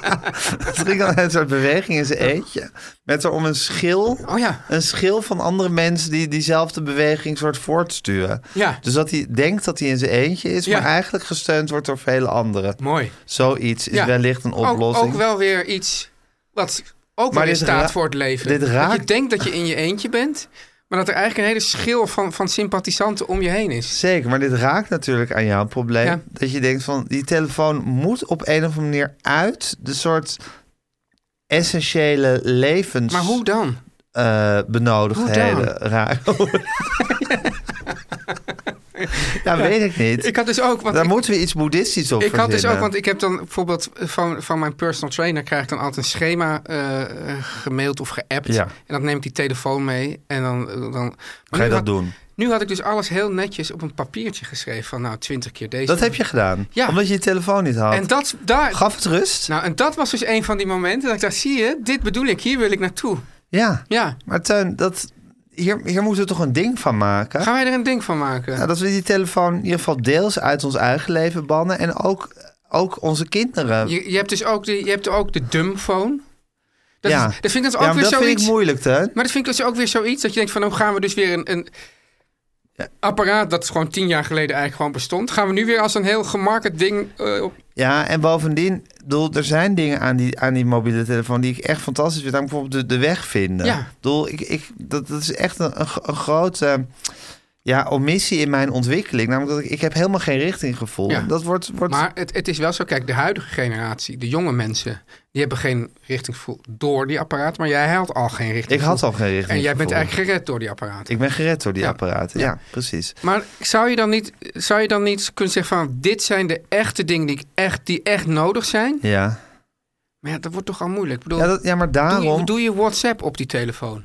[SPEAKER 6] misschien kan hij een soort beweging in zijn eentje. Met er om een schil...
[SPEAKER 3] Oh ja,
[SPEAKER 6] Een schil van andere mensen die diezelfde beweging soort voortsturen.
[SPEAKER 3] Ja.
[SPEAKER 6] Dus dat hij denkt dat hij in zijn eentje is,
[SPEAKER 3] Ja.
[SPEAKER 6] maar eigenlijk gesteund wordt door vele anderen.
[SPEAKER 3] mooi.
[SPEAKER 6] Zoiets is
[SPEAKER 3] Ja.
[SPEAKER 6] wellicht een oplossing.
[SPEAKER 3] Ook, ook wel weer iets wat ook wel
[SPEAKER 6] Maar
[SPEAKER 3] weer
[SPEAKER 6] dit
[SPEAKER 3] staat
[SPEAKER 6] ra-
[SPEAKER 3] voor het leven.
[SPEAKER 6] dit
[SPEAKER 3] Dat je
[SPEAKER 6] raakt-
[SPEAKER 3] denkt dat je in je eentje bent, maar dat er eigenlijk een hele schil van, van sympathisanten om je heen is.
[SPEAKER 6] Zeker, maar dit raakt natuurlijk aan jouw probleem.
[SPEAKER 3] Ja.
[SPEAKER 6] Dat je denkt van die telefoon moet op een of andere manier uit de soort essentiële
[SPEAKER 3] Maar hoe
[SPEAKER 6] levensbenodigdheden
[SPEAKER 3] dan? Hoe dan?
[SPEAKER 6] raken. ja, Nou, weet ik niet.
[SPEAKER 3] Ik had dus ook... want
[SPEAKER 6] Daar
[SPEAKER 3] ik-
[SPEAKER 6] moeten we iets boeddhistisch op
[SPEAKER 3] Ik had dus ook,
[SPEAKER 6] verzinnen.
[SPEAKER 3] want ik heb dan bijvoorbeeld eh, van, van mijn personal trainer krijg ik dan altijd een schema eh, eh, gemaild of geappt.
[SPEAKER 6] Ja.
[SPEAKER 3] En dan neem ik die telefoon mee. En dan, eh, dan, maar nu
[SPEAKER 6] Ga je
[SPEAKER 3] had-
[SPEAKER 6] dat doen?
[SPEAKER 3] Nu had ik dus alles heel netjes op een papiertje geschreven van nou 20 keer deze.
[SPEAKER 6] Dat heb je gedaan?
[SPEAKER 3] Ja.
[SPEAKER 6] Omdat je je telefoon niet had?
[SPEAKER 3] En dat, daar,
[SPEAKER 6] Gaf het rust?
[SPEAKER 3] nou, en dat was dus een van die momenten dat ik dacht, zie je, dit bedoel ik, hier wil ik naartoe.
[SPEAKER 6] Ja.
[SPEAKER 3] Ja,
[SPEAKER 6] Maar Teun, dat, hier, hier moeten we toch een ding van maken?
[SPEAKER 3] gaan wij er een ding van maken?
[SPEAKER 6] Ja, Nou, dat we die telefoon in ieder geval deels uit ons eigen leven bannen. En ook, ook onze kinderen.
[SPEAKER 3] Je, je hebt dus ook de, je hebt ook de dumbphone. Dat,
[SPEAKER 6] Ja.
[SPEAKER 3] is- dat vind ik dus
[SPEAKER 6] ja,
[SPEAKER 3] ook
[SPEAKER 6] maar
[SPEAKER 3] weer
[SPEAKER 6] dat
[SPEAKER 3] zoiets.
[SPEAKER 6] vind ik moeilijk, hè?
[SPEAKER 3] Maar dat vind ik dus ook weer zoiets dat je denkt van, nou gaan we dus weer een, een apparaat dat gewoon tien jaar geleden eigenlijk gewoon bestond, gaan we nu weer als een heel gemarket ding eh, op.
[SPEAKER 6] Ja, en bovendien, ik bedoel, er zijn dingen aan die, aan die mobiele telefoon die ik echt fantastisch vind. Namelijk bijvoorbeeld de, de weg vinden.
[SPEAKER 3] Ja.
[SPEAKER 6] Ik bedoel, ik, ik, dat, dat is echt een, een, gro- een grote ja, omissie in mijn ontwikkeling. Namelijk dat ik, ik heb helemaal geen richtinggevoel.
[SPEAKER 3] Ja.
[SPEAKER 6] Dat wordt, wordt
[SPEAKER 3] Maar het, het is wel zo, kijk, de huidige generatie, de jonge mensen, die hebben geen richtinggevoel door die apparaat, maar jij had al geen richting.
[SPEAKER 6] ik had al geen richting.
[SPEAKER 3] En jij bent eigenlijk gered door die apparaat.
[SPEAKER 6] Ik ben gered door die
[SPEAKER 3] Ja.
[SPEAKER 6] apparaten. Ja, precies.
[SPEAKER 3] Maar zou je, dan niet, zou je dan niet kunnen zeggen van, dit zijn de echte dingen die ik echt, die echt nodig zijn?
[SPEAKER 6] Ja.
[SPEAKER 3] Maar ja, dat wordt toch al moeilijk. Ik bedoel,
[SPEAKER 6] Ja, dat, ja, maar
[SPEAKER 3] doe,
[SPEAKER 6] daarom...
[SPEAKER 3] je, doe je WhatsApp op die telefoon?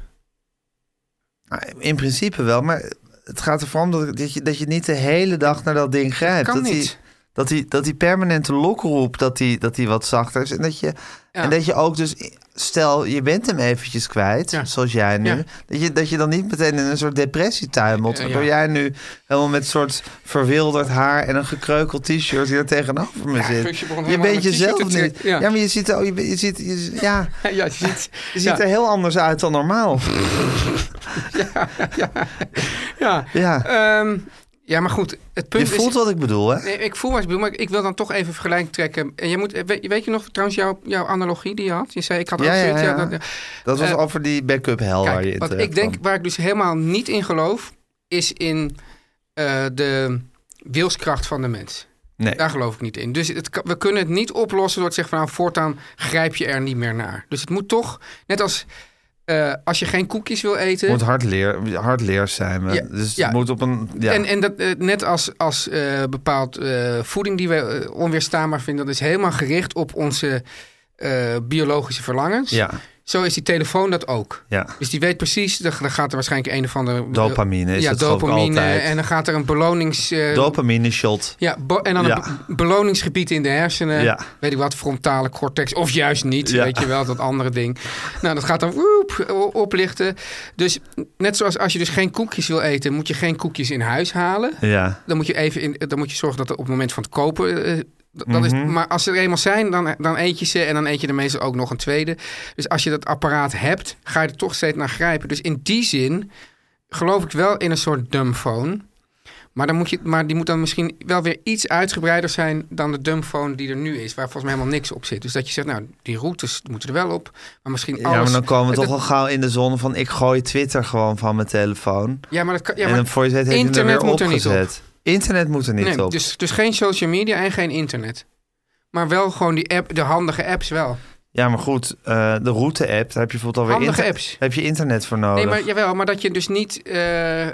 [SPEAKER 6] Nou, In principe wel, maar het gaat er vooral om dat, dat, je, dat je niet de hele dag naar dat ding grijpt.
[SPEAKER 3] kan
[SPEAKER 6] dat die-
[SPEAKER 3] niet.
[SPEAKER 6] Dat die, dat die permanente lokroep, dat die, dat die wat zachter is. En dat, je, en dat je ook dus, stel je bent hem eventjes kwijt,
[SPEAKER 3] Ja.
[SPEAKER 6] zoals jij nu.
[SPEAKER 3] Ja.
[SPEAKER 6] Dat, je, dat je dan niet meteen in een soort depressie
[SPEAKER 3] Eh,
[SPEAKER 6] tuimelt.
[SPEAKER 3] ja.
[SPEAKER 6] Waardoor jij nu helemaal met een soort verwilderd haar en een gekreukeld t-shirt hier tegenover me
[SPEAKER 3] Ja,
[SPEAKER 6] zit.
[SPEAKER 3] Guusje begon
[SPEAKER 6] Je
[SPEAKER 3] helemaal
[SPEAKER 6] bent
[SPEAKER 3] een t-shirt
[SPEAKER 6] jezelf
[SPEAKER 3] te
[SPEAKER 6] niet.
[SPEAKER 3] trekken.
[SPEAKER 6] Ja.
[SPEAKER 3] Ja.
[SPEAKER 6] maar je ziet, er- oh, je, bent- je ziet, je- ja,
[SPEAKER 3] Ja, je ziet,
[SPEAKER 6] je ziet er heel anders uit dan normaal.
[SPEAKER 3] ja.
[SPEAKER 6] Ja.
[SPEAKER 3] Ehm, ja, maar goed, het punt
[SPEAKER 6] Je
[SPEAKER 3] is...
[SPEAKER 6] voelt wat ik bedoel, hè?
[SPEAKER 3] Nee, ik voel wat ik bedoel, maar ik wil dan toch even vergelijk trekken. En je moet, weet, weet je nog trouwens jouw, jouw analogie die je had? Je zei, ik had ook
[SPEAKER 6] Ja, ja,
[SPEAKER 3] zoiets... ja,
[SPEAKER 6] ja.
[SPEAKER 3] dat- ja.
[SPEAKER 6] Dat was
[SPEAKER 3] Eh,
[SPEAKER 6] over die backup hel waar je eh,
[SPEAKER 3] Kijk,
[SPEAKER 6] in
[SPEAKER 3] wat
[SPEAKER 6] terecht
[SPEAKER 3] ik denk,
[SPEAKER 6] kwam.
[SPEAKER 3] waar ik dus helemaal niet in geloof, is in eh, de wilskracht van de mens.
[SPEAKER 6] Nee.
[SPEAKER 3] Daar geloof ik niet in. Dus het, kan- we kunnen het niet oplossen door te zeggen van nou, voortaan grijp je er niet meer naar. Dus het moet toch, net als eh, als je geen koekjes wil eten.
[SPEAKER 6] moet hardleer, hardleers zijn. we.
[SPEAKER 3] Ja,
[SPEAKER 6] dus
[SPEAKER 3] ja.
[SPEAKER 6] het moet op een... Ja.
[SPEAKER 3] En, en dat, eh, net als, als eh, bepaald eh, voeding die we eh, onweerstaanbaar vinden, dat is helemaal gericht op onze eh, biologische verlangens.
[SPEAKER 6] ja,
[SPEAKER 3] Zo is die telefoon dat ook.
[SPEAKER 6] ja.
[SPEAKER 3] Dus die weet precies, dan dan gaat er waarschijnlijk een of andere...
[SPEAKER 6] Dopamine is
[SPEAKER 3] ja,
[SPEAKER 6] het geloof ik
[SPEAKER 3] dopamine.
[SPEAKER 6] altijd.
[SPEAKER 3] En dan gaat er een belonings... eh,
[SPEAKER 6] Dopamine shot.
[SPEAKER 3] ja, bo- en dan
[SPEAKER 6] Ja.
[SPEAKER 3] een be- beloningsgebied in de hersenen.
[SPEAKER 6] Ja.
[SPEAKER 3] Weet ik wat, frontale cortex. Of juist niet,
[SPEAKER 6] Ja.
[SPEAKER 3] weet je wel, dat andere ding. Nou, dat gaat dan woep, o- oplichten. Dus net zoals als je dus geen koekjes wil eten... moet je geen koekjes in huis halen.
[SPEAKER 6] Ja.
[SPEAKER 3] Dan moet je, even in, dan moet je zorgen dat er op het moment van het kopen... eh, d- dat is,
[SPEAKER 6] Mhm.
[SPEAKER 3] maar als ze er eenmaal zijn, dan, dan eet je ze en dan eet je er meestal ook nog een tweede. Dus als je dat apparaat hebt, ga je er toch steeds naar grijpen. Dus in die zin geloof ik wel in een soort dumbphone. Maar, dan moet je, maar die moet dan misschien wel weer iets uitgebreider zijn dan de dumbphone die er nu is. Waar volgens mij helemaal niks op zit. Dus dat je zegt, nou, die routes moeten er wel op. Maar misschien
[SPEAKER 6] Ja,
[SPEAKER 3] alles...
[SPEAKER 6] maar dan komen we
[SPEAKER 3] het-
[SPEAKER 6] toch al gauw in de zon van... ik gooi Twitter gewoon van mijn telefoon.
[SPEAKER 3] Ja, maar dat kan... Ja,
[SPEAKER 6] en
[SPEAKER 3] maar,
[SPEAKER 6] dan voor je het heeft hij hem er
[SPEAKER 3] internet
[SPEAKER 6] weer
[SPEAKER 3] moet er niet
[SPEAKER 6] opgezet. Internet moet er niet
[SPEAKER 3] nee,
[SPEAKER 6] op.
[SPEAKER 3] dus, dus geen social media en geen internet. Maar wel gewoon die app, de handige apps wel.
[SPEAKER 6] Ja, maar goed, eh, de route-app, daar heb je bijvoorbeeld alweer...
[SPEAKER 3] Handige
[SPEAKER 6] inter-
[SPEAKER 3] apps.
[SPEAKER 6] daar heb je internet voor nodig.
[SPEAKER 3] Nee, maar jawel, maar dat je dus niet. eh, eh,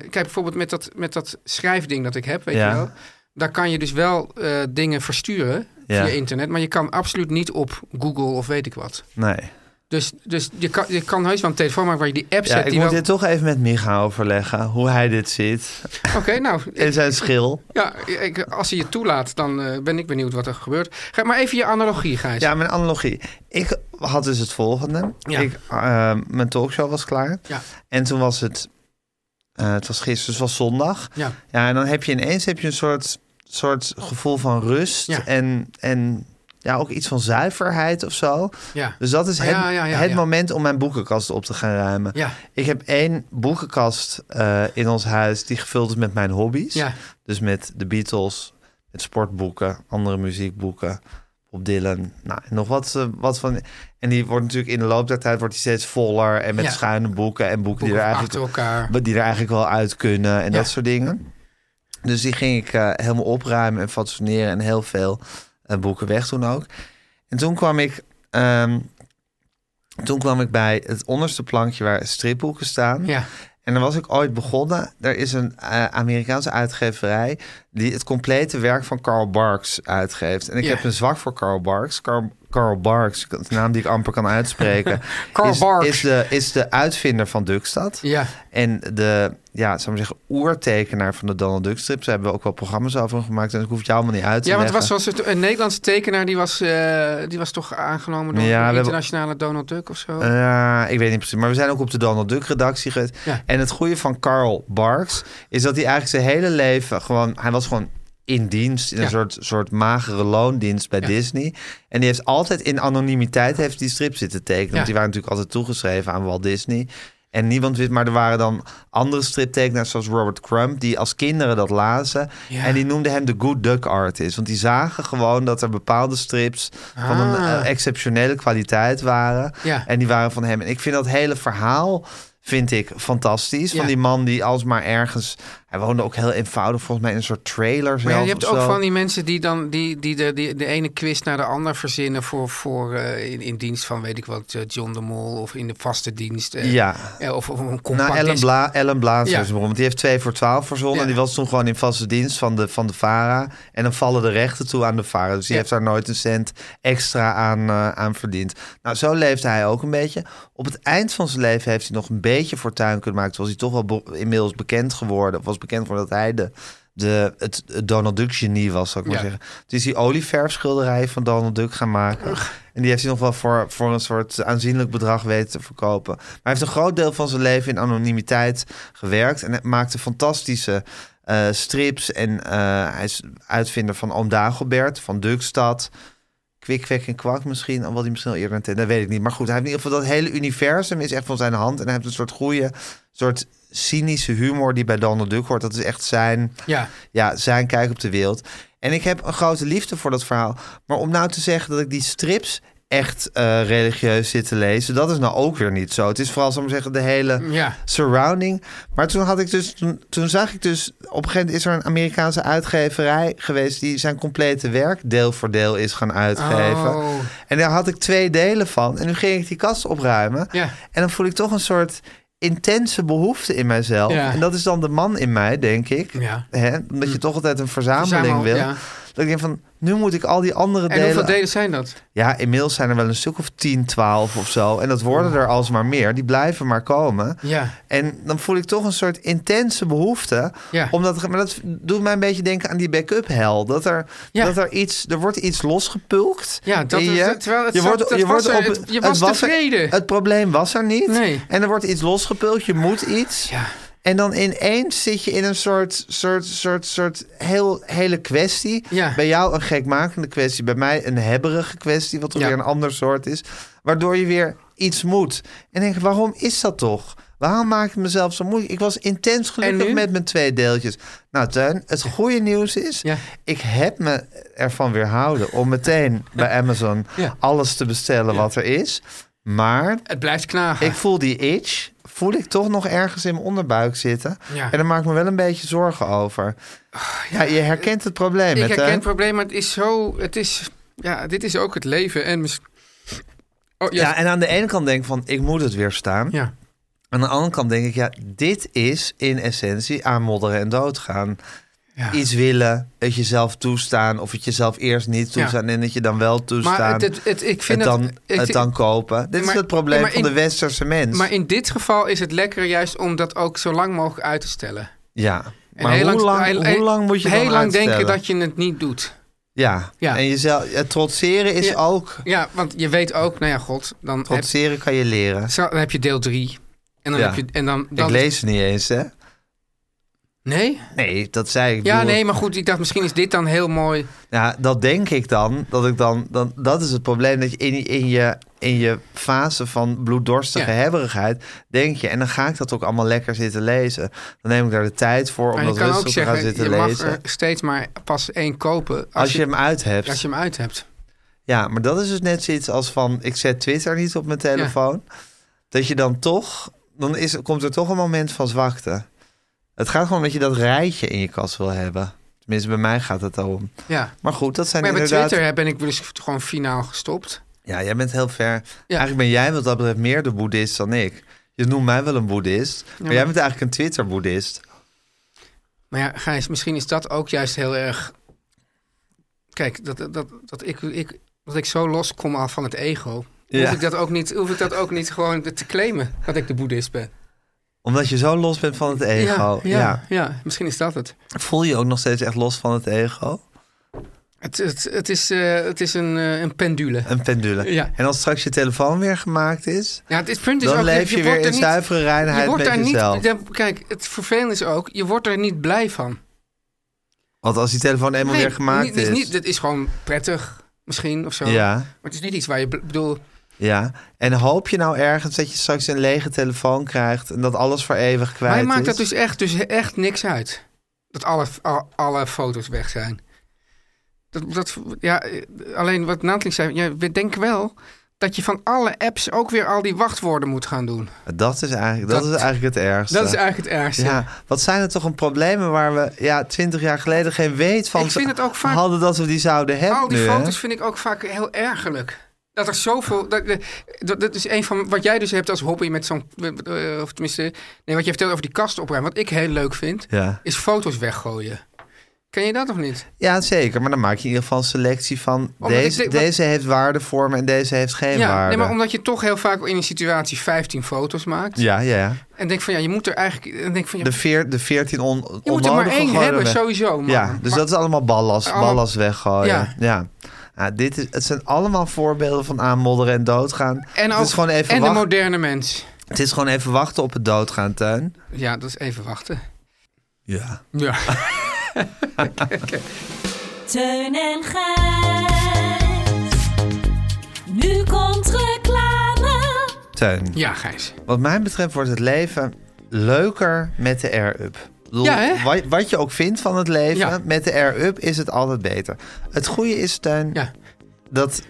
[SPEAKER 3] kijk, bijvoorbeeld met dat, met dat schrijfding dat ik heb, weet
[SPEAKER 6] Ja.
[SPEAKER 3] je wel. Daar kan je dus wel eh, dingen versturen
[SPEAKER 6] Ja.
[SPEAKER 3] via internet, maar je kan absoluut niet op Google of weet ik wat.
[SPEAKER 6] Nee.
[SPEAKER 3] Dus, dus je, kan, je kan heus wel een telefoon maken waar je die app
[SPEAKER 6] Ja,
[SPEAKER 3] zet.
[SPEAKER 6] ik
[SPEAKER 3] die
[SPEAKER 6] moet
[SPEAKER 3] wel-
[SPEAKER 6] dit toch even met Micha overleggen, hoe hij dit ziet.
[SPEAKER 3] Oké, nou,
[SPEAKER 6] En
[SPEAKER 3] ik-
[SPEAKER 6] zijn schil.
[SPEAKER 3] ja, ik, als hij je toelaat, dan eh, ben ik benieuwd wat er gebeurt. Ga maar even je analogie, Gijs.
[SPEAKER 6] Ja, mijn analogie. Ik had dus het volgende.
[SPEAKER 3] Ja.
[SPEAKER 6] Ik, eh, mijn talkshow was klaar.
[SPEAKER 3] Ja.
[SPEAKER 6] En toen was het... eh, het was gisteren, dus het was zondag.
[SPEAKER 3] Ja.
[SPEAKER 6] Ja, en dan heb je ineens heb je een soort, soort gevoel van rust.
[SPEAKER 3] Ja.
[SPEAKER 6] En, en ja, ook iets van zuiverheid of zo.
[SPEAKER 3] ja.
[SPEAKER 6] Dus dat is
[SPEAKER 3] Ah,
[SPEAKER 6] het,
[SPEAKER 3] ja, ja, ja,
[SPEAKER 6] het
[SPEAKER 3] ja.
[SPEAKER 6] moment om mijn boekenkast op te gaan ruimen.
[SPEAKER 3] Ja.
[SPEAKER 6] Ik heb één boekenkast eh, in ons huis die gevuld is met mijn hobby's.
[SPEAKER 3] Ja.
[SPEAKER 6] Dus met de Beatles, met sportboeken, andere muziekboeken, Bob Dylan, nou, en nog wat, eh, wat van. En die wordt natuurlijk in de loop der tijd wordt die steeds voller en met
[SPEAKER 3] Ja.
[SPEAKER 6] schuine boeken en boeken,
[SPEAKER 3] Boeken
[SPEAKER 6] die er eigenlijk
[SPEAKER 3] achter elkaar.
[SPEAKER 6] wat die er eigenlijk wel uit kunnen en
[SPEAKER 3] Ja.
[SPEAKER 6] dat soort dingen. Dus die ging ik eh, helemaal opruimen en fatsoeneren en heel veel eh, boeken weg toen ook. En toen kwam ik, ehm, toen kwam ik bij het onderste plankje waar stripboeken staan.
[SPEAKER 3] Ja.
[SPEAKER 6] En dan was ik ooit begonnen. Er is een eh, Amerikaanse uitgeverij die het complete werk van Carl Barks uitgeeft. En ik
[SPEAKER 3] Ja.
[SPEAKER 6] heb een zwak voor Carl Barks. Carl, Carl Barks, de naam die ik amper kan uitspreken,
[SPEAKER 3] Karl
[SPEAKER 6] is,
[SPEAKER 3] Barks.
[SPEAKER 6] is, de, is de uitvinder van Dukstad.
[SPEAKER 3] Ja.
[SPEAKER 6] En de, ja, zou ik maar zeggen, oertekenaar van de Donald Duck strip. Daar hebben we ook wel programma's over hem gemaakt. En ik hoef het jou helemaal niet uit te
[SPEAKER 3] Ja, want het
[SPEAKER 6] leggen.
[SPEAKER 3] was zoals het, een Nederlandse tekenaar die was, eh, die was toch aangenomen door
[SPEAKER 6] Ja, we
[SPEAKER 3] de
[SPEAKER 6] hebben- Eh,
[SPEAKER 3] internationale Donald Duck of zo.
[SPEAKER 6] Ja, ik weet niet precies. Maar we zijn ook op de Donald Duck redactie geweest.
[SPEAKER 3] Ja.
[SPEAKER 6] En het goede van Carl Barks is dat hij eigenlijk zijn hele leven gewoon... Hij was gewoon in dienst, in een
[SPEAKER 3] Ja.
[SPEAKER 6] soort, soort magere loondienst bij Disney. En die heeft altijd in anonimiteit heeft die strip zitten tekenen. Want die waren natuurlijk altijd toegeschreven aan Walt Disney. En niemand wist, maar er waren dan andere striptekenaars zoals Robert Crumb... die als kinderen dat lazen.
[SPEAKER 3] Ja.
[SPEAKER 6] En die noemden hem de good duck artist. Want die zagen gewoon dat er bepaalde strips... van een
[SPEAKER 3] Ah.
[SPEAKER 6] eh, exceptionele kwaliteit waren.
[SPEAKER 3] Ja.
[SPEAKER 6] En die waren van hem. En ik vind dat hele verhaal vind ik fantastisch. Van
[SPEAKER 3] Ja.
[SPEAKER 6] die man die alsmaar ergens... Hij woonde ook heel eenvoudig volgens mij in een soort trailer
[SPEAKER 3] Maar
[SPEAKER 6] zelf.
[SPEAKER 3] ja, je hebt
[SPEAKER 6] of
[SPEAKER 3] ook
[SPEAKER 6] zo.
[SPEAKER 3] van die mensen die dan die, die de, die, de ene quiz naar de ander verzinnen voor, voor eh, in, in dienst van weet ik wat, eh, John de Mol of in de vaste dienst. eh,
[SPEAKER 6] Ja.
[SPEAKER 3] eh, of, of een compact
[SPEAKER 6] Nou, Ellen,
[SPEAKER 3] disc.
[SPEAKER 6] Bla, Ellen Blaas
[SPEAKER 3] Ja.
[SPEAKER 6] was hem, want die heeft 2 voor 12 verzonnen.
[SPEAKER 3] Ja.
[SPEAKER 6] En die was toen gewoon in vaste dienst van de, van de VARA. En dan vallen de rechten toe aan de VARA. Dus die
[SPEAKER 3] Ja.
[SPEAKER 6] heeft daar nooit een cent extra aan, eh, aan verdiend. Nou, zo leefde hij ook een beetje. Op het eind van zijn leven heeft hij nog een beetje fortuin kunnen maken. Toen was hij toch wel be- inmiddels bekend geworden. Of was bekend geworden dat hij de de, het, het Donald Duck genie was, zou ik maar
[SPEAKER 3] Ja.
[SPEAKER 6] zeggen. Dus die olieverfschilderijen van Donald Duck gaan maken. En die heeft hij nog wel voor, voor een soort aanzienlijk bedrag weten te verkopen. Maar hij heeft een groot deel van zijn leven in anonimiteit gewerkt. En hij maakte fantastische eh, strips. En eh, hij is uitvinder van Oom Dagobert, van Dukstad. Kwik, kwek en kwak misschien. Al wat hij misschien al eerder kent, dat weet ik niet. Maar goed, hij heeft in ieder geval dat hele universum is echt van zijn hand. En hij heeft een soort goede, soort cynische humor die bij Donald Duck hoort. Dat is echt zijn,
[SPEAKER 3] Ja.
[SPEAKER 6] ja, zijn kijk op de wereld. En ik heb een grote liefde voor dat verhaal. Maar om nou te zeggen dat ik die strips echt eh, religieus zit te lezen, dat is nou ook weer niet zo. Het is vooral, zal ik maar zeggen, de hele
[SPEAKER 3] Ja.
[SPEAKER 6] surrounding. Maar toen had ik dus, toen, toen zag ik dus, op een gegeven moment is er een Amerikaanse uitgeverij geweest die zijn complete werk deel voor deel is gaan uitgeven.
[SPEAKER 3] Oh.
[SPEAKER 6] En daar had ik twee delen van. En nu ging ik die kast opruimen.
[SPEAKER 3] Ja.
[SPEAKER 6] En dan voel ik toch een soort intense behoefte in mijzelf.
[SPEAKER 3] Ja.
[SPEAKER 6] En dat is dan de man in mij, denk ik.
[SPEAKER 3] Ja.
[SPEAKER 6] Hè? Omdat je toch altijd een verzameling
[SPEAKER 3] Verzamel,
[SPEAKER 6] wil.
[SPEAKER 3] ja.
[SPEAKER 6] Dat ik denk van, nu moet ik al die andere
[SPEAKER 3] En
[SPEAKER 6] delen...
[SPEAKER 3] hoeveel delen zijn dat?
[SPEAKER 6] Ja, inmiddels zijn er wel een stuk of 10, 12 of zo. En dat worden er alsmaar meer. Die blijven maar komen.
[SPEAKER 3] Ja.
[SPEAKER 6] En dan voel ik toch een soort intense behoefte.
[SPEAKER 3] Ja.
[SPEAKER 6] Omdat, maar dat doet mij een beetje denken aan die backup hel. Dat er,
[SPEAKER 3] Ja.
[SPEAKER 6] dat er iets, er wordt iets losgepulkt.
[SPEAKER 3] Ja, dat
[SPEAKER 6] in
[SPEAKER 3] is-
[SPEAKER 6] je.
[SPEAKER 3] terwijl het
[SPEAKER 6] je
[SPEAKER 3] zat-
[SPEAKER 6] wordt,
[SPEAKER 3] dat
[SPEAKER 6] je
[SPEAKER 3] was
[SPEAKER 6] wordt
[SPEAKER 3] er-
[SPEAKER 6] op,
[SPEAKER 3] het- je was
[SPEAKER 6] er-
[SPEAKER 3] tevreden.
[SPEAKER 6] het probleem was er niet.
[SPEAKER 3] Nee.
[SPEAKER 6] En er wordt iets losgepulkt. Je moet iets.
[SPEAKER 3] Ja.
[SPEAKER 6] En dan ineens zit je in een soort, soort, soort, soort heel, hele kwestie.
[SPEAKER 3] Ja.
[SPEAKER 6] Bij jou een gekmakende kwestie. Bij mij een hebberige kwestie. Wat toch
[SPEAKER 3] Ja.
[SPEAKER 6] weer een ander soort is. Waardoor je weer iets moet. En denk, waarom is dat toch? Waarom maak ik het mezelf zo moeilijk? Ik was intens
[SPEAKER 3] nu?
[SPEAKER 6] gelukkig met mijn twee deeltjes. Nou, Tuin, het goede nieuws is...
[SPEAKER 3] Ja.
[SPEAKER 6] ik heb me ervan weerhouden om meteen bij Amazon...
[SPEAKER 3] Ja.
[SPEAKER 6] alles te bestellen wat er is. Maar
[SPEAKER 3] Het blijft knagen.
[SPEAKER 6] ik voel die itch, voel ik toch nog ergens in mijn onderbuik zitten.
[SPEAKER 3] Ja.
[SPEAKER 6] En daar maak ik me wel een beetje zorgen over. ja. je herkent het probleem.
[SPEAKER 3] Ik
[SPEAKER 6] met,
[SPEAKER 3] herken het probleem, maar het is zo... Het is, ja, dit is ook het leven. En mis- oh, ja.
[SPEAKER 6] Ja, en aan de ene kant denk ik van, ik moet het weer staan.
[SPEAKER 3] ja.
[SPEAKER 6] Aan de andere kant denk ik, ja, dit is in essentie aanmodderen en doodgaan.
[SPEAKER 3] Ja.
[SPEAKER 6] Iets willen, het jezelf toestaan of het jezelf eerst niet
[SPEAKER 3] Ja.
[SPEAKER 6] toestaan en dat je dan wel toestaan.
[SPEAKER 3] Maar het, het, het- ik vind
[SPEAKER 6] het
[SPEAKER 3] het...
[SPEAKER 6] dan,
[SPEAKER 3] ik-
[SPEAKER 6] het dan kopen. Dit
[SPEAKER 3] Maar-
[SPEAKER 6] is het probleem
[SPEAKER 3] maar
[SPEAKER 6] van
[SPEAKER 3] in-
[SPEAKER 6] de westerse mens.
[SPEAKER 3] Maar in dit geval is het lekker juist om dat ook zo lang mogelijk uit te stellen.
[SPEAKER 6] ja.
[SPEAKER 3] En
[SPEAKER 6] Maar
[SPEAKER 3] heel
[SPEAKER 6] hoe, lang,
[SPEAKER 3] heel-
[SPEAKER 6] hoe lang moet je
[SPEAKER 3] Heel
[SPEAKER 6] dan
[SPEAKER 3] lang
[SPEAKER 6] uitstellen?
[SPEAKER 3] denken dat je het niet doet.
[SPEAKER 6] Ja.
[SPEAKER 3] Ja.
[SPEAKER 6] en jezelf, het trotseren is
[SPEAKER 3] Ja.
[SPEAKER 6] ook...
[SPEAKER 3] Ja, want je weet ook, nou ja, god, dan, heb,
[SPEAKER 6] Trotseren kan je leren.
[SPEAKER 3] zo- dan heb je deel 3. En dan
[SPEAKER 6] Ja.
[SPEAKER 3] heb je... En dan, dan,
[SPEAKER 6] Ik lees het niet eens, hè?
[SPEAKER 3] Nee?
[SPEAKER 6] Nee, dat zei ik.
[SPEAKER 3] Ja,
[SPEAKER 6] bedoel-
[SPEAKER 3] nee, maar goed, ik dacht misschien is dit dan heel mooi.
[SPEAKER 6] Ja, dat denk ik dan. Dat, ik dan, dan, dat is het probleem. Dat je in, in, je, in je fase van bloeddorstige
[SPEAKER 3] Ja.
[SPEAKER 6] hebberigheid denk je. En dan ga ik dat ook allemaal lekker zitten lezen. Dan neem ik daar de tijd voor om
[SPEAKER 3] Maar je
[SPEAKER 6] dat
[SPEAKER 3] kan
[SPEAKER 6] rustig
[SPEAKER 3] ook
[SPEAKER 6] te gaan
[SPEAKER 3] zeggen,
[SPEAKER 6] zitten
[SPEAKER 3] je mag
[SPEAKER 6] lezen.
[SPEAKER 3] er steeds maar pas één kopen als,
[SPEAKER 6] als
[SPEAKER 3] je,
[SPEAKER 6] je hem uit hebt.
[SPEAKER 3] als je hem uit hebt.
[SPEAKER 6] Ja, maar dat is dus net zoiets als van... ik zet Twitter niet op mijn telefoon. Dat je dan toch... dan is, komt er toch een moment van zwakte. Het gaat gewoon dat je dat rijtje in je kast wil hebben. Tenminste, bij mij gaat het daarom.
[SPEAKER 3] Ja.
[SPEAKER 6] Maar goed, dat zijn
[SPEAKER 3] Maar bij
[SPEAKER 6] inderdaad...
[SPEAKER 3] Twitter ben ik dus gewoon finaal gestopt.
[SPEAKER 6] Ja, jij bent heel ver. Eigenlijk ben jij wat dat betreft meer de boeddhist dan ik. Je noemt mij wel een boeddhist. Maar,
[SPEAKER 3] maar-
[SPEAKER 6] jij bent eigenlijk een Twitter-boeddhist.
[SPEAKER 3] Maar ja, Gijs, misschien is dat ook juist heel erg... Kijk, dat, dat, dat, dat ik, ik, dat ik zo loskom al van het ego... Hoef,
[SPEAKER 6] Ja.
[SPEAKER 3] ik dat ook niet, hoef ik dat ook niet gewoon te claimen, dat ik de boeddhist ben.
[SPEAKER 6] Omdat je zo los bent van het ego.
[SPEAKER 3] ja, ja. ja, misschien is dat het.
[SPEAKER 6] Voel je je ook nog steeds echt los van het ego?
[SPEAKER 3] Het, het, het, is, eh, het is een, eh, een pendule.
[SPEAKER 6] Een pendule.
[SPEAKER 3] Ja.
[SPEAKER 6] En als straks je telefoon weer gemaakt is...
[SPEAKER 3] Ja, het is- punt is
[SPEAKER 6] Dan
[SPEAKER 3] ook,
[SPEAKER 6] leef je,
[SPEAKER 3] wordt
[SPEAKER 6] weer
[SPEAKER 3] er
[SPEAKER 6] in
[SPEAKER 3] niet-
[SPEAKER 6] zuivere reinheid
[SPEAKER 3] je wordt
[SPEAKER 6] met
[SPEAKER 3] daar
[SPEAKER 6] jezelf.
[SPEAKER 3] Niet, dan- kijk, het vervelende is ook, je wordt er niet blij van.
[SPEAKER 6] Want als die telefoon eenmaal weer gemaakt
[SPEAKER 3] niet, niet-
[SPEAKER 6] is...
[SPEAKER 3] Niet, dat is gewoon prettig, misschien of zo.
[SPEAKER 6] ja,
[SPEAKER 3] Maar het is niet iets waar je... bl- bedoel,
[SPEAKER 6] ja. En hoop je nou ergens dat je straks een lege telefoon krijgt... en dat alles voor eeuwig kwijt
[SPEAKER 3] mij maakt
[SPEAKER 6] is?
[SPEAKER 3] dat dus echt, dus echt niks uit. Dat alle, al- alle foto's weg zijn. Dat, dat, ja, eh, alleen wat Nathalie zei, ja, we denken wel dat je van alle apps ook weer al die wachtwoorden moet gaan doen.
[SPEAKER 6] Dat is eigenlijk, dat
[SPEAKER 3] Dat-
[SPEAKER 6] is eigenlijk het ergste.
[SPEAKER 3] Dat is eigenlijk het ergste.
[SPEAKER 6] Ja, wat zijn er toch een problemen waar we ja, twintig jaar geleden geen weet van
[SPEAKER 3] Ik vind het ook vaak-
[SPEAKER 6] hadden dat we die zouden hebben
[SPEAKER 3] Al die
[SPEAKER 6] nu, hè?
[SPEAKER 3] foto's vind ik ook vaak heel ergerlijk. Dat er zoveel. Dat, eh, dat, dat is een van. Wat jij dus hebt als hobby met zo'n. eh, Of tenminste. Nee, wat je vertelt over die kast opruimen. Wat ik heel leuk vind.
[SPEAKER 6] Ja.
[SPEAKER 3] Is foto's weggooien. Ken je dat nog niet?
[SPEAKER 6] Ja, zeker. Maar dan maak je in ieder geval een selectie van...
[SPEAKER 3] Omdat ik
[SPEAKER 6] deze,
[SPEAKER 3] denk-
[SPEAKER 6] deze heeft waarde voor me en deze heeft geen
[SPEAKER 3] ja,
[SPEAKER 6] waarde.
[SPEAKER 3] nee, maar omdat je toch heel vaak in een situatie 15 foto's maakt.
[SPEAKER 6] Ja, ja, ja.
[SPEAKER 3] En denk van ja, je moet er eigenlijk. En denk van, ja,
[SPEAKER 6] De, veer, de 14 on,
[SPEAKER 3] je moet er maar één
[SPEAKER 6] gegooide
[SPEAKER 3] hebben,
[SPEAKER 6] weg.
[SPEAKER 3] sowieso. Man.
[SPEAKER 6] Ja, dus
[SPEAKER 3] Maar-
[SPEAKER 6] dat is allemaal ballast,
[SPEAKER 3] Allemaal-
[SPEAKER 6] ballast weggooien. Ja.
[SPEAKER 3] Ja.
[SPEAKER 6] Ah, dit is, het zijn allemaal voorbeelden van aanmodderen en doodgaan.
[SPEAKER 3] en
[SPEAKER 6] het,
[SPEAKER 3] ook,
[SPEAKER 6] is gewoon even
[SPEAKER 3] en de
[SPEAKER 6] wachten,
[SPEAKER 3] moderne mens.
[SPEAKER 6] het is gewoon even wachten op het doodgaan, Tuin.
[SPEAKER 3] Ja, dat is even wachten.
[SPEAKER 6] Ja.
[SPEAKER 3] Ja.
[SPEAKER 7] Teun en Gijs. Nu komt reclame.
[SPEAKER 6] Tuin,
[SPEAKER 3] Ja, Gijs.
[SPEAKER 6] wat mij betreft wordt het leven leuker met de air-up. Ik bedoel,
[SPEAKER 3] Ja, hè?
[SPEAKER 6] wat, wat je ook vindt van het leven,
[SPEAKER 3] Ja.
[SPEAKER 6] met de air-up is het altijd beter. Het goede is, Tuin,
[SPEAKER 3] Ja.
[SPEAKER 6] dat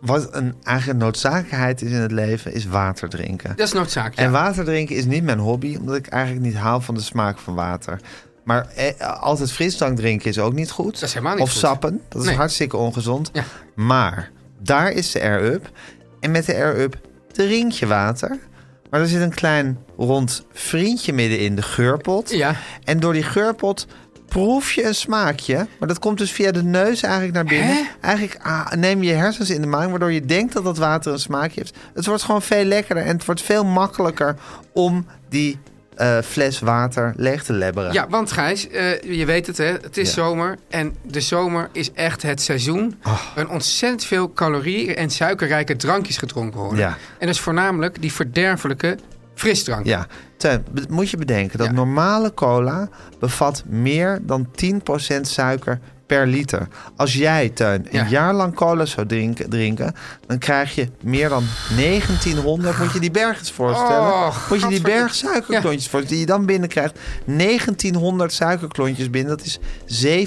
[SPEAKER 6] wat een eigen noodzakelijkheid is in het leven, is water drinken.
[SPEAKER 3] Dat is noodzaak. Ja.
[SPEAKER 6] En water drinken is niet mijn hobby, omdat ik eigenlijk niet hou van de smaak van water. Maar eh, altijd frisdrank drinken is ook niet goed.
[SPEAKER 3] Dat is helemaal niet
[SPEAKER 6] of
[SPEAKER 3] goed.
[SPEAKER 6] sappen, dat is
[SPEAKER 3] Nee.
[SPEAKER 6] hartstikke ongezond.
[SPEAKER 3] Ja.
[SPEAKER 6] Maar daar is de air-up. En met de air-up drink je water. Maar er zit een klein rond vriendje midden in, de geurpot.
[SPEAKER 3] Ja.
[SPEAKER 6] En door die geurpot proef je een smaakje. Maar dat komt dus via de neus eigenlijk naar binnen.
[SPEAKER 3] Hè?
[SPEAKER 6] Eigenlijk ah, neem je je hersens in de maag, waardoor je denkt dat dat water een smaakje heeft. Het wordt gewoon veel lekkerder en het wordt veel makkelijker om die eh, fles water leeg te lebberen.
[SPEAKER 3] Ja, want Gijs, eh, je weet het hè, het is
[SPEAKER 6] Ja.
[SPEAKER 3] zomer en de zomer is echt het seizoen
[SPEAKER 6] Oh.
[SPEAKER 3] waarin ontzettend veel calorieën en suikerrijke drankjes gedronken worden.
[SPEAKER 6] Ja.
[SPEAKER 3] En dat is voornamelijk die verderfelijke frisdrank.
[SPEAKER 6] Ja, Teun, be- moet je bedenken dat
[SPEAKER 3] Ja.
[SPEAKER 6] normale cola bevat meer dan 10% suiker per liter. Als jij, Teun, een
[SPEAKER 3] Ja.
[SPEAKER 6] jaar lang cola zou drinken, drinken, dan krijg je meer dan 1900, moet je die bergens
[SPEAKER 3] Och,
[SPEAKER 6] voorstellen, moet je die
[SPEAKER 3] gadverdikke.
[SPEAKER 6] berg suikerklontjes voorstellen, die je dan binnenkrijgt. 1900 suikerklontjes binnen, dat is 7,7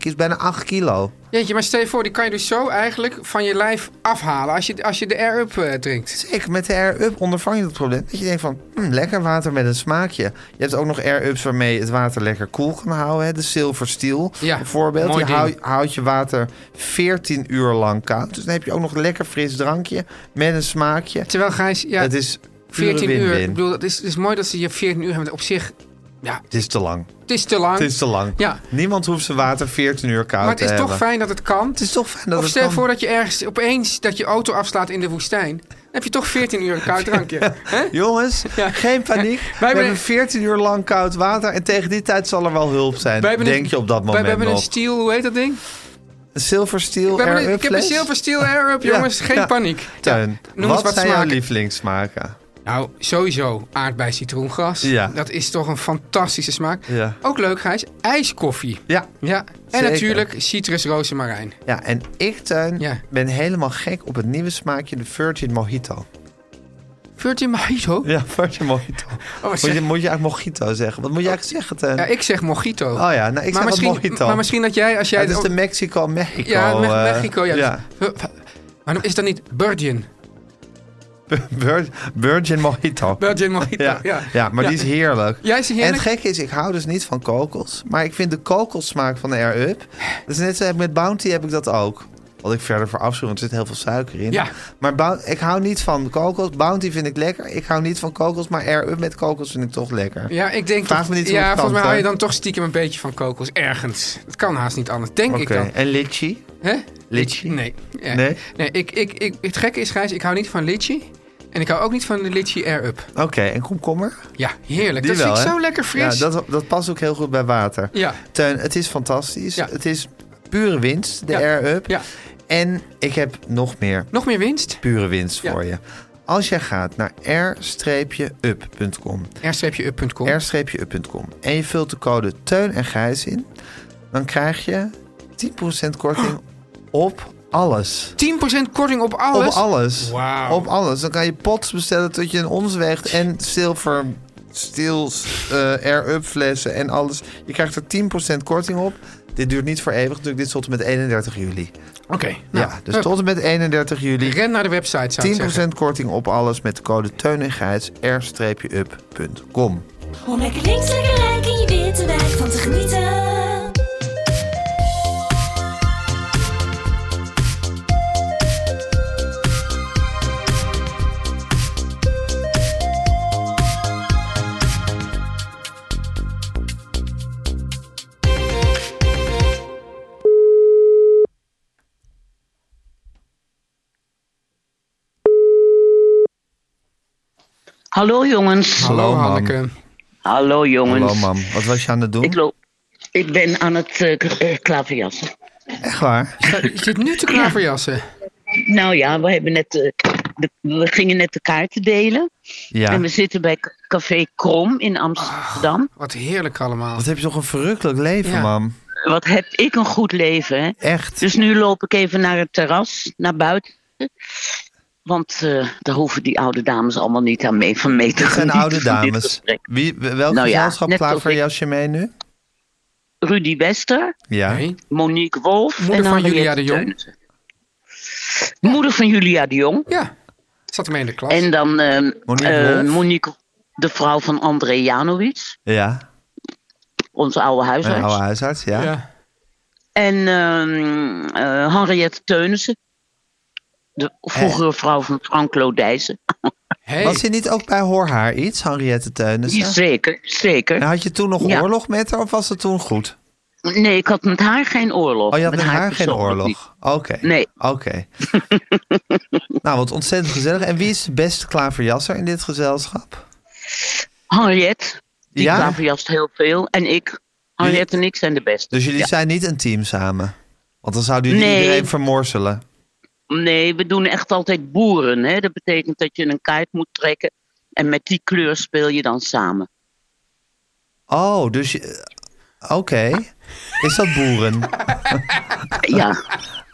[SPEAKER 6] kilo, bijna 8 kilo.
[SPEAKER 3] Jeetje, maar stel je voor, die kan je dus zo eigenlijk van je lijf afhalen als je, als je de air-up eh, drinkt.
[SPEAKER 6] Zeker, met de air-up ondervang je dat probleem. Dat je denkt van, hm, lekker water met een smaakje. Je hebt ook nog air-ups waarmee het water lekker koel kan houden. Hè? De Silver Steel
[SPEAKER 3] Ja,
[SPEAKER 6] bijvoorbeeld.
[SPEAKER 3] mooi
[SPEAKER 6] Die
[SPEAKER 3] ding.
[SPEAKER 6] hou- houdt je water 14 uur lang koud. Dus dan heb je ook nog een lekker fris drankje met een smaakje.
[SPEAKER 3] Terwijl Gijs, ja,
[SPEAKER 6] het is pure
[SPEAKER 3] 14 uur, ik
[SPEAKER 6] win-win.
[SPEAKER 3] bedoel, het is, het is mooi dat ze je 14 uur hebben. Op zich, ja,
[SPEAKER 6] Het is te lang.
[SPEAKER 3] het is te lang,
[SPEAKER 6] Het is te lang.
[SPEAKER 3] Ja.
[SPEAKER 6] Niemand hoeft zijn water 14 uur koud te
[SPEAKER 3] maar het
[SPEAKER 6] hebben.
[SPEAKER 3] is toch fijn dat het kan.
[SPEAKER 6] Het is toch fijn dat
[SPEAKER 3] of
[SPEAKER 6] het
[SPEAKER 3] stel je
[SPEAKER 6] kan.
[SPEAKER 3] voor dat je ergens opeens dat je auto afslaat in de woestijn. Dan heb je toch 14 uur een koud drankje. hè?
[SPEAKER 6] Jongens,
[SPEAKER 3] Ja.
[SPEAKER 6] geen paniek. We
[SPEAKER 3] hebben-
[SPEAKER 6] hebben 14 uur lang koud water. En tegen die tijd zal er wel hulp zijn.
[SPEAKER 3] Wij hebben
[SPEAKER 6] Denk
[SPEAKER 3] een-
[SPEAKER 6] je op dat
[SPEAKER 3] Wij
[SPEAKER 6] moment
[SPEAKER 3] we hebben
[SPEAKER 6] nog.
[SPEAKER 3] een steel, hoe heet dat ding?
[SPEAKER 6] Silver Steel
[SPEAKER 3] We hebben een-
[SPEAKER 6] Air
[SPEAKER 3] ik heb een Silver Steel Air-Up,
[SPEAKER 6] Ja,
[SPEAKER 3] jongens. Geen
[SPEAKER 6] ja.
[SPEAKER 3] paniek.
[SPEAKER 6] Tuin,
[SPEAKER 3] noem
[SPEAKER 6] wat,
[SPEAKER 3] eens wat
[SPEAKER 6] zijn
[SPEAKER 3] smaken.
[SPEAKER 6] jouw lievelingssmaken?
[SPEAKER 3] Nou, sowieso aardbei citroengras.
[SPEAKER 6] Ja.
[SPEAKER 3] Dat is toch een fantastische smaak.
[SPEAKER 6] Ja.
[SPEAKER 3] Ook leuk, Gijs. IJskoffie.
[SPEAKER 6] Ja.
[SPEAKER 3] Ja. En
[SPEAKER 6] Zeker.
[SPEAKER 3] natuurlijk citrus rozemarijn.
[SPEAKER 6] ja, en ik, Tuin,
[SPEAKER 3] Ja.
[SPEAKER 6] ben helemaal gek op het nieuwe smaakje, de Virgin Mojito.
[SPEAKER 3] Virgin Mojito? Oh,
[SPEAKER 6] Ja, Virgin Mojito. moet,
[SPEAKER 3] zeg-
[SPEAKER 6] je, moet je eigenlijk mojito zeggen? Wat moet je eigenlijk zeggen, Tuin?
[SPEAKER 3] Ja, ik zeg mojito.
[SPEAKER 6] Oh ja, nou, ik zeg
[SPEAKER 3] maar,
[SPEAKER 6] wat
[SPEAKER 3] misschien,
[SPEAKER 6] mojito.
[SPEAKER 3] maar misschien dat jij, als jij...
[SPEAKER 6] het is
[SPEAKER 3] ook-
[SPEAKER 6] de Mexico-Mexico.
[SPEAKER 3] ja, Me-
[SPEAKER 6] eh,
[SPEAKER 3] Mexico, ja.
[SPEAKER 6] ja.
[SPEAKER 3] Maar is dat niet Virgin?
[SPEAKER 6] Vir- Virgin Mojito.
[SPEAKER 3] Virgin Mojito,
[SPEAKER 6] Ja,
[SPEAKER 3] ja.
[SPEAKER 6] ja. maar die is heerlijk.
[SPEAKER 3] Jij is
[SPEAKER 6] En het
[SPEAKER 3] heerlijk.
[SPEAKER 6] gekke is, ik hou dus niet van kokos. Maar ik vind de kokosmaak van de Air Up. Dat is net zo, met Bounty heb ik dat ook. Wat ik verder voor afschuw, want er zit heel veel suiker in.
[SPEAKER 3] Ja.
[SPEAKER 6] Maar Bou- ik hou niet van kokos. Bounty vind ik lekker. Ik hou niet van kokos, maar Air Up met kokos vind ik toch lekker.
[SPEAKER 3] Ja, ik denk...
[SPEAKER 6] Vraag
[SPEAKER 3] toch-
[SPEAKER 6] me niet hoe
[SPEAKER 3] Ja,
[SPEAKER 6] het kan,
[SPEAKER 3] volgens mij hou je
[SPEAKER 6] hè?
[SPEAKER 3] dan toch stiekem een beetje van kokos. Ergens. Het kan haast niet anders, denk
[SPEAKER 6] Oké,
[SPEAKER 3] ik dan.
[SPEAKER 6] en litchi?
[SPEAKER 3] Hè?
[SPEAKER 6] Litchi?
[SPEAKER 3] Nee. Ja.
[SPEAKER 6] Nee?
[SPEAKER 3] Nee, ik, ik, ik, het gekke is, Gijs, ik hou niet van litchi. En ik hou ook niet van de litchi air-up.
[SPEAKER 6] Oké, en komkommer?
[SPEAKER 3] Ja, heerlijk.
[SPEAKER 6] Die
[SPEAKER 3] dat
[SPEAKER 6] wel,
[SPEAKER 3] vind ik
[SPEAKER 6] hè?
[SPEAKER 3] zo lekker fris.
[SPEAKER 6] Ja, dat, dat past ook heel goed bij water.
[SPEAKER 3] Ja.
[SPEAKER 6] Teun, het is fantastisch.
[SPEAKER 3] Ja.
[SPEAKER 6] Het is pure winst, de
[SPEAKER 3] Ja.
[SPEAKER 6] Air Up.
[SPEAKER 3] Ja.
[SPEAKER 6] En ik heb nog meer
[SPEAKER 3] Nog meer winst?
[SPEAKER 6] pure winst
[SPEAKER 3] Ja.
[SPEAKER 6] voor je. Als jij gaat naar r-up.com,
[SPEAKER 3] r-up.com.
[SPEAKER 6] r-up.com en je vult de code Teun en Gijs in, dan krijg je 10%
[SPEAKER 3] Ah.
[SPEAKER 6] korting op alles.
[SPEAKER 3] 10% korting op alles?
[SPEAKER 6] Op alles.
[SPEAKER 3] Wauw.
[SPEAKER 6] Op alles. Dan kan je pots bestellen tot je een ons weegt en zilver, stils, eh air-up flessen en alles. Je krijgt er 10% korting op. Dit duurt niet voor eeuwig, natuurlijk. Dit is tot en met 31 juli.
[SPEAKER 3] Oké. nou,
[SPEAKER 6] ja, dus
[SPEAKER 3] hup.
[SPEAKER 6] tot en met 31 juli.
[SPEAKER 3] Ren naar de website, zou ik
[SPEAKER 6] 10%
[SPEAKER 3] zeggen.
[SPEAKER 6] korting op alles met de code Teun en Gijs, r-up.com.
[SPEAKER 7] Om lekker links, lekker rijk in je witte wijk van te genieten.
[SPEAKER 8] Hallo jongens.
[SPEAKER 3] Hallo,
[SPEAKER 6] Hallo, mam.
[SPEAKER 3] Hanneke.
[SPEAKER 8] Hallo jongens.
[SPEAKER 6] Hallo mam, wat was je aan het doen?
[SPEAKER 8] Ik loop. Ik ben aan het eh, k- eh, klaverjassen.
[SPEAKER 6] Echt waar?
[SPEAKER 3] Sta- Je zit nu te klaverjassen.
[SPEAKER 8] Nou ja, we, hebben net, eh, de, we gingen net de kaarten delen.
[SPEAKER 6] Ja.
[SPEAKER 8] En we zitten bij K- Café Krom in Amsterdam.
[SPEAKER 3] Wat heerlijk allemaal.
[SPEAKER 6] Wat heb je toch een verrukkelijk leven,
[SPEAKER 3] Ja.
[SPEAKER 6] mam.
[SPEAKER 8] Wat heb ik een goed leven, hè?
[SPEAKER 6] Echt.
[SPEAKER 8] Dus nu loop ik even naar het terras, naar buiten. Want eh, daar hoeven die oude dames allemaal niet aan mee van mee te
[SPEAKER 6] Dit zijn
[SPEAKER 8] genieten
[SPEAKER 6] oude
[SPEAKER 8] van dit
[SPEAKER 6] dames.
[SPEAKER 8] gesprek.
[SPEAKER 6] Wie, welk
[SPEAKER 8] Nou ja,
[SPEAKER 6] gezelschap
[SPEAKER 8] net als
[SPEAKER 6] klaverjasje mee nu?
[SPEAKER 8] Rudy Wester,
[SPEAKER 6] Ja.
[SPEAKER 3] Nee.
[SPEAKER 8] Monique Wolf
[SPEAKER 3] Moeder
[SPEAKER 8] en
[SPEAKER 3] van
[SPEAKER 8] Henriette
[SPEAKER 3] Julia de Jong.
[SPEAKER 8] Teunissen. Moeder van Julia de Jong.
[SPEAKER 3] Ja, zat ermee in de klas.
[SPEAKER 8] En dan ehm,
[SPEAKER 6] Monique
[SPEAKER 8] eh,
[SPEAKER 6] Wolf.
[SPEAKER 8] Monique, de vrouw van André Janowitz,
[SPEAKER 6] Ja.
[SPEAKER 8] onze oude
[SPEAKER 6] Een
[SPEAKER 8] huisarts.
[SPEAKER 6] oude huisarts, ja.
[SPEAKER 3] ja.
[SPEAKER 8] En ehm, eh, Henriette Teunissen, de vroegere vrouw van Frank Lodijzen.
[SPEAKER 3] Hey.
[SPEAKER 6] Was je niet ook bij Hoor Haar iets, Henriette Teunissen?
[SPEAKER 8] Zeker, zeker.
[SPEAKER 6] En had je toen nog
[SPEAKER 8] Ja.
[SPEAKER 6] oorlog met haar of was het toen goed?
[SPEAKER 8] Nee, ik had met haar geen oorlog.
[SPEAKER 6] Oh, je had met haar, geen
[SPEAKER 8] persoonlijk niet.
[SPEAKER 6] oorlog? Oké.
[SPEAKER 8] Nee.
[SPEAKER 6] Oké. nou, wat ontzettend gezellig. En wie is de beste klaverjasser in dit gezelschap?
[SPEAKER 8] Henriette, die
[SPEAKER 6] Ja?
[SPEAKER 8] klaverjast heel veel. En ik, Henriette en ik zijn de beste.
[SPEAKER 6] Dus jullie
[SPEAKER 8] Ja.
[SPEAKER 6] zijn niet een team samen? Want dan zouden jullie
[SPEAKER 8] Nee.
[SPEAKER 6] iedereen vermorzelen.
[SPEAKER 8] Nee, we doen echt altijd boeren. Hè? Dat betekent dat je een kaart moet trekken. En met die kleur speel je dan samen.
[SPEAKER 6] Oh, dus... je- eh, Oké. Is dat boeren?
[SPEAKER 8] Ja.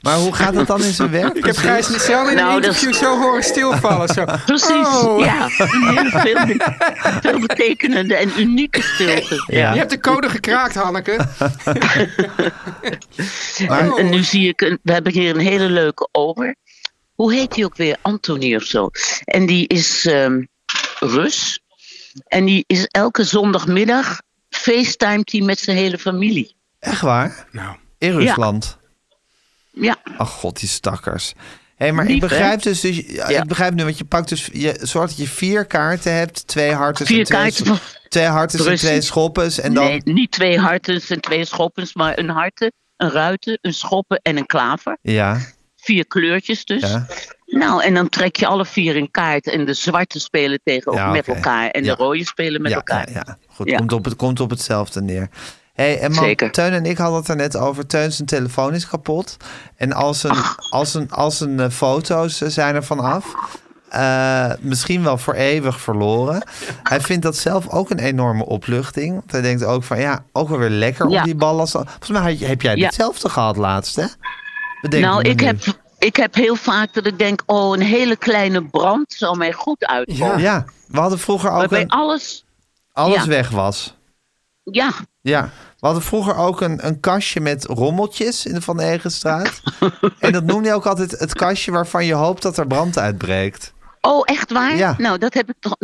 [SPEAKER 6] Maar hoe gaat dat dan in zijn werk?
[SPEAKER 3] Ik heb Gijs Michel in een
[SPEAKER 8] Nou, dat-
[SPEAKER 3] interview zo horen stilvallen. Zo.
[SPEAKER 8] Precies,
[SPEAKER 3] Oh.
[SPEAKER 8] ja. Een hele veel, veelbetekenende en unieke stilte.
[SPEAKER 6] Ja.
[SPEAKER 8] Ja.
[SPEAKER 3] Je hebt de code gekraakt, Hanneke. Oh,
[SPEAKER 8] En, en nu zie ik, een, we hebben hier een hele leuke over. Hoe heet die ook weer? Anthony of zo. En die is ehm, Rus. En die is elke zondagmiddag facetimed hij met zijn hele familie.
[SPEAKER 6] Echt waar?
[SPEAKER 3] Nou,
[SPEAKER 6] In Rusland?
[SPEAKER 8] Ja,
[SPEAKER 6] Ach god, die stakkers. Hé, maar ik
[SPEAKER 8] Lief, hè?
[SPEAKER 6] begrijp dus, dus ja,
[SPEAKER 8] Ja.
[SPEAKER 6] ik begrijp nu, want je pakt dus, je zorgt dat je vier kaarten hebt, twee hartes en
[SPEAKER 8] Vier
[SPEAKER 6] twee,
[SPEAKER 8] kaarten
[SPEAKER 6] scho-
[SPEAKER 8] van-
[SPEAKER 6] twee hartes en
[SPEAKER 8] Precies.
[SPEAKER 6] twee schoppes en dan,
[SPEAKER 8] nee, niet twee hartens en twee schoppens, maar een harte, een ruiten, een schoppen en een klaver.
[SPEAKER 6] ja,
[SPEAKER 8] Vier kleurtjes dus.
[SPEAKER 6] ja,
[SPEAKER 8] Nou, en dan trek je alle vier een kaart. En de zwarte spelen tegen
[SPEAKER 6] Ja,
[SPEAKER 8] met
[SPEAKER 6] oké.
[SPEAKER 8] elkaar. En
[SPEAKER 6] Ja.
[SPEAKER 8] de rode spelen met
[SPEAKER 6] ja,
[SPEAKER 8] elkaar.
[SPEAKER 6] ja, ja. Goed,
[SPEAKER 8] Ja.
[SPEAKER 6] Komt, op het, komt op hetzelfde neer. Hé, en man,
[SPEAKER 8] Zeker.
[SPEAKER 6] Teun en ik hadden het er net over. Teun zijn telefoon is kapot. En als een, als een, als een eh, foto's eh, zijn er vanaf. Eh, misschien wel voor eeuwig verloren. Hij vindt dat zelf ook een enorme opluchting. Want hij denkt ook van ja, ook wel weer lekker
[SPEAKER 8] Ja.
[SPEAKER 6] om die ballast. Volgens mij had je- heb jij
[SPEAKER 8] Ja.
[SPEAKER 6] hetzelfde gehad laatst, hè? Bedenk
[SPEAKER 8] nou,
[SPEAKER 6] me
[SPEAKER 8] ik
[SPEAKER 6] nu.
[SPEAKER 8] heb, ik heb heel vaak dat ik denk: oh, een hele kleine brand zal mij goed uitkomen.
[SPEAKER 6] Ja, we hadden vroeger ook
[SPEAKER 8] Waarbij
[SPEAKER 6] een,
[SPEAKER 8] alles,
[SPEAKER 6] alles
[SPEAKER 8] ja.
[SPEAKER 6] weg was.
[SPEAKER 8] ja,
[SPEAKER 6] Ja, we hadden vroeger ook een, een kastje met rommeltjes in de Van Egenstraat. en dat noemde je ook altijd het kastje waarvan je hoopt dat er brand uitbreekt.
[SPEAKER 8] oh, echt waar?
[SPEAKER 6] Ja.
[SPEAKER 8] Nou, dat heb ik toch.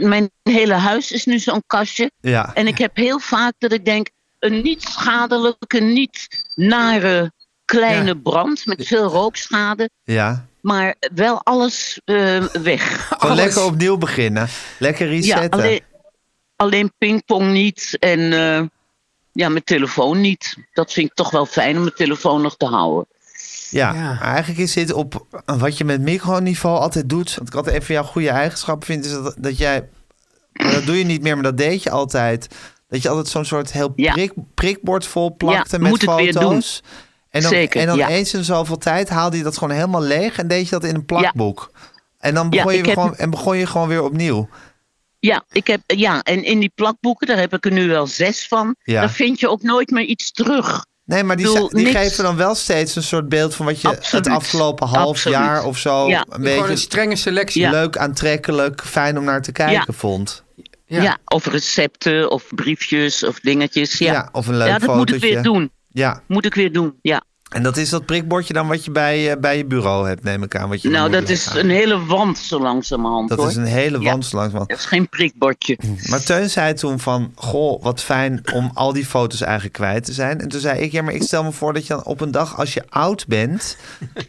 [SPEAKER 8] Mijn hele huis is nu zo'n kastje.
[SPEAKER 6] Ja,
[SPEAKER 8] En ik heb heel vaak dat ik denk: een niet schadelijke, niet nare kleine
[SPEAKER 3] Ja.
[SPEAKER 8] brand met veel rookschade,
[SPEAKER 6] ja.
[SPEAKER 8] maar wel alles eh, weg.
[SPEAKER 6] Gewoon
[SPEAKER 3] Alles.
[SPEAKER 6] lekker opnieuw beginnen. Lekker
[SPEAKER 8] dus- Ja,
[SPEAKER 6] resetten.
[SPEAKER 8] alleen, alleen pingpong niet en eh, ja, mijn telefoon niet. Dat vind ik toch wel fijn om mijn telefoon nog te houden.
[SPEAKER 6] Ja,
[SPEAKER 3] Ja.
[SPEAKER 6] maar eigenlijk is dit op wat je met microniveau altijd doet. Want ik altijd even jouw goede eigenschap vind, is dat, dat jij. maar Dat doe je niet meer, maar dat deed je altijd. Dat je altijd zo'n soort heel
[SPEAKER 8] Ja.
[SPEAKER 6] prik, prikbord vol plakte
[SPEAKER 8] Ja,
[SPEAKER 6] met
[SPEAKER 8] moet het weer
[SPEAKER 6] foto's. En dan,
[SPEAKER 8] Zeker,
[SPEAKER 6] en dan
[SPEAKER 8] ja.
[SPEAKER 6] eens in zoveel tijd haalde je dat gewoon helemaal leeg en deed je dat in een plakboek. En dan begon,
[SPEAKER 8] Ja,
[SPEAKER 6] je
[SPEAKER 8] ik heb-
[SPEAKER 6] gewoon, en begon je gewoon weer opnieuw.
[SPEAKER 8] Ja, ik heb, ja, en in die plakboeken, daar heb ik er nu wel zes van.
[SPEAKER 6] Ja.
[SPEAKER 8] Daar vind je ook nooit meer iets terug.
[SPEAKER 6] Nee, maar die,
[SPEAKER 8] Ik bedoel,
[SPEAKER 6] zijn- die
[SPEAKER 8] niks-
[SPEAKER 6] geven dan wel steeds een soort beeld van wat je
[SPEAKER 8] Absoluut.
[SPEAKER 6] het afgelopen half
[SPEAKER 8] Absoluut.
[SPEAKER 6] jaar of zo
[SPEAKER 8] Ja.
[SPEAKER 6] een
[SPEAKER 3] gewoon een
[SPEAKER 6] beetje
[SPEAKER 3] strenge selectie.
[SPEAKER 8] Ja.
[SPEAKER 6] leuk, aantrekkelijk, fijn om naar te kijken vond.
[SPEAKER 8] Ja. of recepten, of briefjes, of dingetjes. Ja,
[SPEAKER 6] Ja, of een leuk
[SPEAKER 8] Ja, dat moet ik
[SPEAKER 6] fotootje.
[SPEAKER 8] weer doen.
[SPEAKER 6] Ja,
[SPEAKER 8] Moet ik weer doen, ja.
[SPEAKER 6] en dat is dat prikbordje dan wat je bij, eh, bij je bureau hebt, neem ik aan. Wat je dan
[SPEAKER 8] Nou,
[SPEAKER 6] moet
[SPEAKER 8] dat is
[SPEAKER 6] leggen.
[SPEAKER 8] een hele wand zo langzamerhand,
[SPEAKER 6] Dat
[SPEAKER 8] hoor.
[SPEAKER 6] is een hele
[SPEAKER 8] Ja.
[SPEAKER 6] wand langs.
[SPEAKER 8] Dat is geen prikbordje.
[SPEAKER 6] Maar Teun zei toen van, goh, wat fijn om al die foto's eigenlijk kwijt te zijn. En toen zei ik, ja, maar ik stel me voor dat je dan op een dag als je oud bent,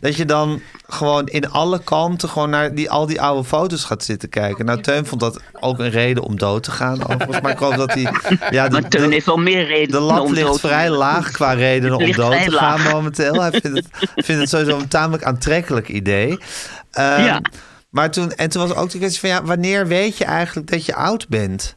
[SPEAKER 6] dat je dan gewoon in alle kanten gewoon naar die, al die oude foto's gaat zitten kijken. Nou, Teun vond dat ook een reden om dood te gaan overigens. Maar ik hoop dat hij... Ja, de-
[SPEAKER 8] Maar Teun
[SPEAKER 6] de-
[SPEAKER 8] heeft wel meer redenen
[SPEAKER 6] De
[SPEAKER 8] om
[SPEAKER 6] lat
[SPEAKER 8] dood
[SPEAKER 6] ligt
[SPEAKER 8] te
[SPEAKER 6] vrij
[SPEAKER 8] gaan.
[SPEAKER 6] laag qua redenen om
[SPEAKER 8] Ligt
[SPEAKER 6] dood
[SPEAKER 8] vrij
[SPEAKER 6] te gaan
[SPEAKER 8] laag.
[SPEAKER 6] momenteel. Hij vindt het, vindt het sowieso een tamelijk aantrekkelijk idee. Ehm,
[SPEAKER 8] Ja.
[SPEAKER 6] Maar toen, en toen was ook de kwestie van, ja, wanneer weet je eigenlijk dat je oud bent?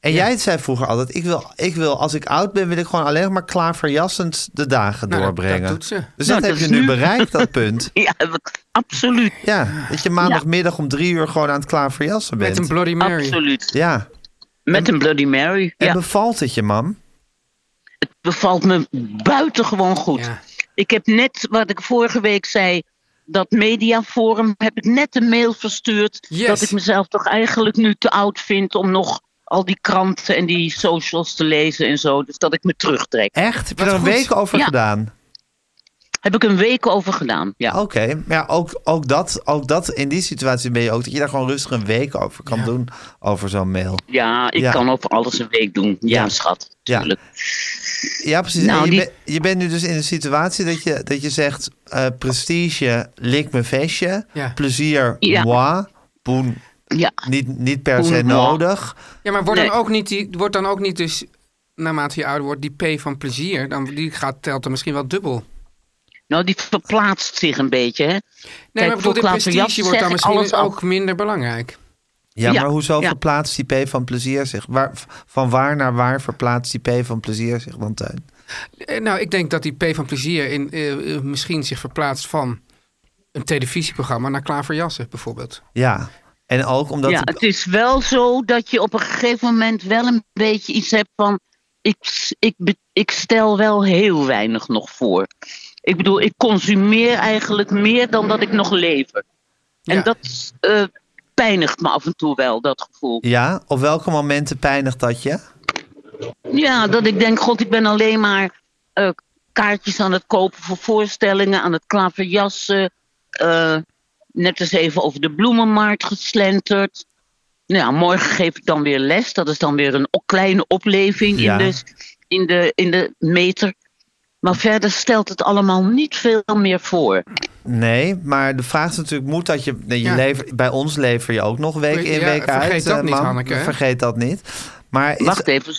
[SPEAKER 6] En jij zei vroeger altijd, ik wil, ik wil, als ik oud ben, wil ik gewoon alleen maar klaverjassend de dagen
[SPEAKER 3] Nou, dat-
[SPEAKER 6] doorbrengen.
[SPEAKER 3] dat doet ze.
[SPEAKER 6] Dus
[SPEAKER 8] Nou,
[SPEAKER 6] dat heb
[SPEAKER 8] dat
[SPEAKER 6] je nu
[SPEAKER 8] is nu-
[SPEAKER 6] bereikt, dat punt.
[SPEAKER 8] Ja, wat- absoluut.
[SPEAKER 6] Ja, dat je maandagmiddag om drie uur gewoon aan het klaverjassen bent.
[SPEAKER 3] Met een Bloody Mary.
[SPEAKER 8] Absoluut.
[SPEAKER 6] Ja.
[SPEAKER 8] Met een Bloody Mary.
[SPEAKER 6] En
[SPEAKER 8] Ja,
[SPEAKER 6] bevalt het je, mam?
[SPEAKER 8] het bevalt me buitengewoon goed.
[SPEAKER 3] Ja.
[SPEAKER 8] Ik heb net, wat ik vorige week zei, dat mediaforum, heb ik net een mail verstuurd.
[SPEAKER 3] Yes.
[SPEAKER 8] Dat ik mezelf toch eigenlijk nu te oud vind om nog al die kranten en die socials te lezen en zo. Dus dat ik me terugtrek.
[SPEAKER 6] Echt? Heb je
[SPEAKER 3] Wat
[SPEAKER 6] er een
[SPEAKER 3] goed.
[SPEAKER 6] week over
[SPEAKER 8] Ja.
[SPEAKER 6] gedaan?
[SPEAKER 8] Heb ik een week over gedaan. Ja.
[SPEAKER 6] Oké, maar ja, ook, ook, dat, ook dat in die situatie ben je ook dat je daar gewoon rustig een week over kan doen. Over zo'n mail.
[SPEAKER 8] Ja, ik
[SPEAKER 6] Ja.
[SPEAKER 8] kan over alles een week doen. Ja,
[SPEAKER 6] Ja.
[SPEAKER 8] schat.
[SPEAKER 6] Ja.
[SPEAKER 8] Tuurlijk.
[SPEAKER 6] Ja, precies.
[SPEAKER 8] Nou,
[SPEAKER 6] en je,
[SPEAKER 8] die-
[SPEAKER 6] ben- je bent nu dus in een situatie dat je, dat je zegt: eh, prestige, lik me vestje.
[SPEAKER 3] Ja.
[SPEAKER 6] Plezier,
[SPEAKER 8] Ja.
[SPEAKER 6] moi. Boen,
[SPEAKER 8] Ja.
[SPEAKER 6] niet, niet per
[SPEAKER 8] Boen,
[SPEAKER 6] se
[SPEAKER 8] moi.
[SPEAKER 6] nodig.
[SPEAKER 3] Ja, maar wordt
[SPEAKER 8] Nee.
[SPEAKER 3] dan ook niet, die, wordt dan ook niet dus, naarmate je ouder wordt, die P van plezier, dan, die gaat, telt er misschien wel dubbel.
[SPEAKER 8] Nou, die verplaatst zich een beetje, hè?
[SPEAKER 3] Nee, maar ik bedoel,
[SPEAKER 8] voor
[SPEAKER 3] dit
[SPEAKER 8] Klaas van
[SPEAKER 3] prestige
[SPEAKER 8] Jassen
[SPEAKER 3] wordt dan
[SPEAKER 8] zeg ik
[SPEAKER 3] misschien
[SPEAKER 8] alles
[SPEAKER 3] ook minder belangrijk.
[SPEAKER 6] Ja,
[SPEAKER 8] Ja,
[SPEAKER 6] maar hoezo
[SPEAKER 8] ja.
[SPEAKER 6] verplaatst die P van plezier zich? Waar, van waar naar waar verplaatst die P van plezier zich dan, Teun?
[SPEAKER 3] Eh, Nou, ik denk dat die P van plezier in, eh, eh, misschien zich verplaatst van een televisieprogramma naar Klaverjassen bijvoorbeeld.
[SPEAKER 6] Ja, en ook omdat.
[SPEAKER 8] ja,
[SPEAKER 6] de-
[SPEAKER 8] het is wel zo dat je op een gegeven moment wel een beetje iets hebt van. Ik, s- ik, be- ik stel wel heel weinig nog voor. Ik bedoel, ik consumeer eigenlijk meer dan dat ik nog lever. En
[SPEAKER 3] Ja.
[SPEAKER 8] dat eh, pijnigt me af en toe wel, dat gevoel.
[SPEAKER 6] ja, op welke momenten pijnigt dat je?
[SPEAKER 8] Ja, dat ik denk, god, ik ben alleen maar eh, kaartjes aan het kopen voor voorstellingen, aan het klaverjassen. eh, net eens even over de bloemenmarkt geslenterd. Nou ja, morgen geef ik dan weer les. Dat is dan weer een o- kleine opleving
[SPEAKER 6] Ja.
[SPEAKER 8] in, de, in, de, in de meter. Maar verder stelt het allemaal niet veel meer voor.
[SPEAKER 6] Nee, maar de vraag is natuurlijk, moet dat je... nee, je
[SPEAKER 3] Ja.
[SPEAKER 6] lever- bij ons lever je ook nog week in,
[SPEAKER 3] Ja,
[SPEAKER 6] week uit.
[SPEAKER 3] vergeet dat
[SPEAKER 6] eh,
[SPEAKER 3] niet,
[SPEAKER 6] mam.
[SPEAKER 3] Hanneke, hè?
[SPEAKER 6] Vergeet dat niet. Maar is-
[SPEAKER 8] Wacht even,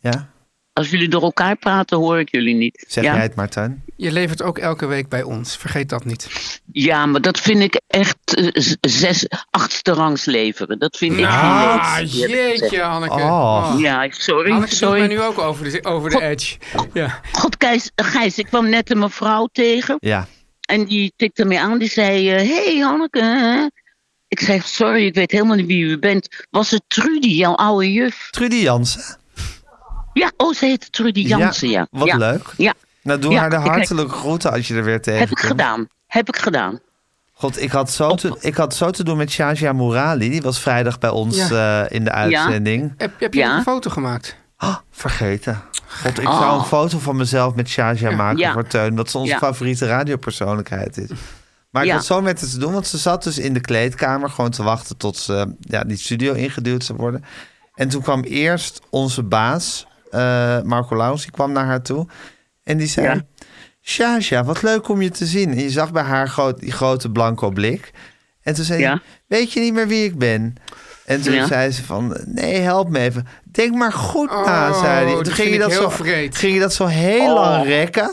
[SPEAKER 6] ja,
[SPEAKER 8] als jullie door elkaar praten hoor ik jullie niet.
[SPEAKER 6] zeg
[SPEAKER 8] ja?
[SPEAKER 6] jij het maar, Teun.
[SPEAKER 3] Je levert ook elke week bij ons, vergeet dat niet.
[SPEAKER 8] ja, maar dat vind ik echt eh, z- zes, achtste rangs leveren. Dat vind ik niet leuk.
[SPEAKER 3] Ah, jeetje Hanneke. Ah,
[SPEAKER 6] Oh.
[SPEAKER 8] Ja, sorry.
[SPEAKER 3] Hanneke doet mij
[SPEAKER 8] sorry.
[SPEAKER 3] nu ook over de, over de edge. Ja.
[SPEAKER 8] God, Gijs, Gijs, ik kwam net een mevrouw tegen.
[SPEAKER 6] Ja,
[SPEAKER 8] En die tikte mij aan. Die zei: eh, hey, Hanneke. hè?" Ik zei: Sorry, ik weet helemaal niet wie u bent. Was het Trudy, jouw oude juf?
[SPEAKER 6] Trudy Jansen.
[SPEAKER 8] Ja, oh, ze heette Trudy Jansen, ja.
[SPEAKER 6] Wat
[SPEAKER 8] Ja,
[SPEAKER 6] leuk.
[SPEAKER 8] Ja,
[SPEAKER 6] Nou, doe
[SPEAKER 8] Ja,
[SPEAKER 6] haar de
[SPEAKER 8] ik kijk-
[SPEAKER 6] hartelijke groeten als je er weer
[SPEAKER 8] heb ik
[SPEAKER 6] tegenkomt.
[SPEAKER 8] gedaan. Heb ik gedaan.
[SPEAKER 6] God, ik had, zo te, ik had zo te doen met Shazia Mourali. Die was vrijdag bij ons eh, in de uitzending.
[SPEAKER 3] Heb, heb je
[SPEAKER 8] Ja.
[SPEAKER 3] een foto gemaakt?
[SPEAKER 6] Oh, vergeten. God, ik zou een foto van mezelf met Shazia maken
[SPEAKER 8] Oh. Ja.
[SPEAKER 6] voor Teun. Dat ze onze
[SPEAKER 8] Ja.
[SPEAKER 6] favoriete radiopersoonlijkheid is. Maar ik
[SPEAKER 8] Ja.
[SPEAKER 6] had zo met het te doen, want ze zat dus in de kleedkamer gewoon te wachten tot ze eh, ja, die studio ingeduwd zou worden. En toen kwam eerst onze baas, eh, Marco Laus, die kwam naar haar toe. En die zei, Shazia, wat leuk om je te zien. En je zag bij haar groot, die grote blanco blik. En toen zei
[SPEAKER 8] Ja.
[SPEAKER 6] hij, weet je niet meer wie ik ben? En toen
[SPEAKER 8] Ja.
[SPEAKER 6] zei ze van, nee, help me even. Denk maar goed na,
[SPEAKER 3] Oh,
[SPEAKER 6] zei hij.
[SPEAKER 3] dat
[SPEAKER 6] Toen
[SPEAKER 3] vind
[SPEAKER 6] ging je
[SPEAKER 3] ik
[SPEAKER 6] dat,
[SPEAKER 3] heel
[SPEAKER 6] zo,
[SPEAKER 3] wreed.
[SPEAKER 6] ging je dat zo heel lang rekken.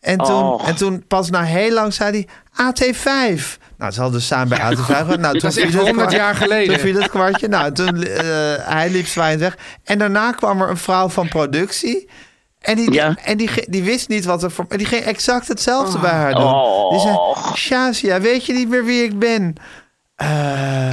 [SPEAKER 6] En toen,
[SPEAKER 8] Oh.
[SPEAKER 6] en toen pas na heel lang zei hij, AT5. Nou, ze hadden dus samen bij AT5. gegaan. Nou, toen
[SPEAKER 3] Dat is echt
[SPEAKER 6] viel het
[SPEAKER 3] 100
[SPEAKER 6] kwa-
[SPEAKER 3] jaar geleden.
[SPEAKER 6] Toen viel het kwartje. Nou, toen, eh, hij liep zwaaiend weg. En daarna kwam er een vrouw van productie. En die,
[SPEAKER 8] Ja.
[SPEAKER 6] en die, ge- die wist niet wat er voor... En die ging exact hetzelfde bij haar doen.
[SPEAKER 8] Oh.
[SPEAKER 6] Die zei, Shazia, weet je niet meer wie ik ben? Eh,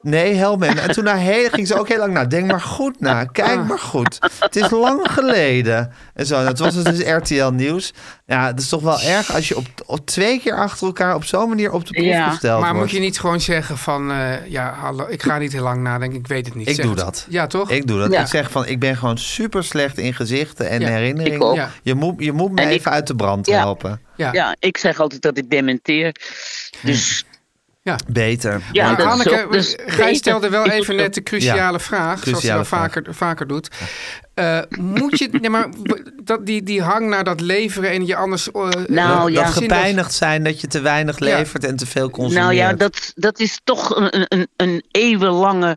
[SPEAKER 6] nee, Helmen. En toen na heel, ging ze ook heel lang na. Denk maar goed na. Nou, Kijk maar goed. Het is lang geleden. En zo. En het was dus RTL Nieuws. Ja, het is toch wel erg als je op, op twee keer achter elkaar op zo'n manier op de proef
[SPEAKER 8] Ja.
[SPEAKER 6] gesteld
[SPEAKER 3] Maar moet
[SPEAKER 6] wordt.
[SPEAKER 3] je niet gewoon zeggen van, eh, ja, hallo, ik ga niet heel lang nadenken, ik weet het niet.
[SPEAKER 6] Ik
[SPEAKER 3] Zeg
[SPEAKER 6] doe
[SPEAKER 3] het.
[SPEAKER 6] dat.
[SPEAKER 3] Ja, toch?
[SPEAKER 6] Ik doe dat.
[SPEAKER 8] Ja.
[SPEAKER 6] Ik zeg van, ik ben gewoon super slecht in gezichten en
[SPEAKER 3] Ja,
[SPEAKER 8] ik ook.
[SPEAKER 6] herinneringen.
[SPEAKER 3] Ja.
[SPEAKER 6] Je moet, je moet me
[SPEAKER 8] En ik-
[SPEAKER 6] even uit de brand
[SPEAKER 8] Ja.
[SPEAKER 6] helpen.
[SPEAKER 3] Ja.
[SPEAKER 8] Ja, ik zeg altijd dat ik dementeer. Dus
[SPEAKER 6] Beter.
[SPEAKER 8] ja,
[SPEAKER 3] Maar
[SPEAKER 8] dat is
[SPEAKER 3] Hanneke,
[SPEAKER 8] ook... dus
[SPEAKER 3] Gij stelde wel
[SPEAKER 8] Ik-
[SPEAKER 3] even net de cruciale vraag, zoals je
[SPEAKER 6] cruciale
[SPEAKER 3] wel
[SPEAKER 6] vraag.
[SPEAKER 3] vaker, vaker doet. Eh, moet je, nee, maar w- dat, die, die hang naar dat leveren en je anders... eh,
[SPEAKER 8] Nou,
[SPEAKER 3] eh,
[SPEAKER 8] ja.
[SPEAKER 3] zinloos-
[SPEAKER 6] Dat gepijnigd zijn dat je te weinig
[SPEAKER 3] Ja.
[SPEAKER 6] levert en te veel consumeert.
[SPEAKER 8] Nou ja, dat, dat is toch een, een- een, een eh, eeuwenlange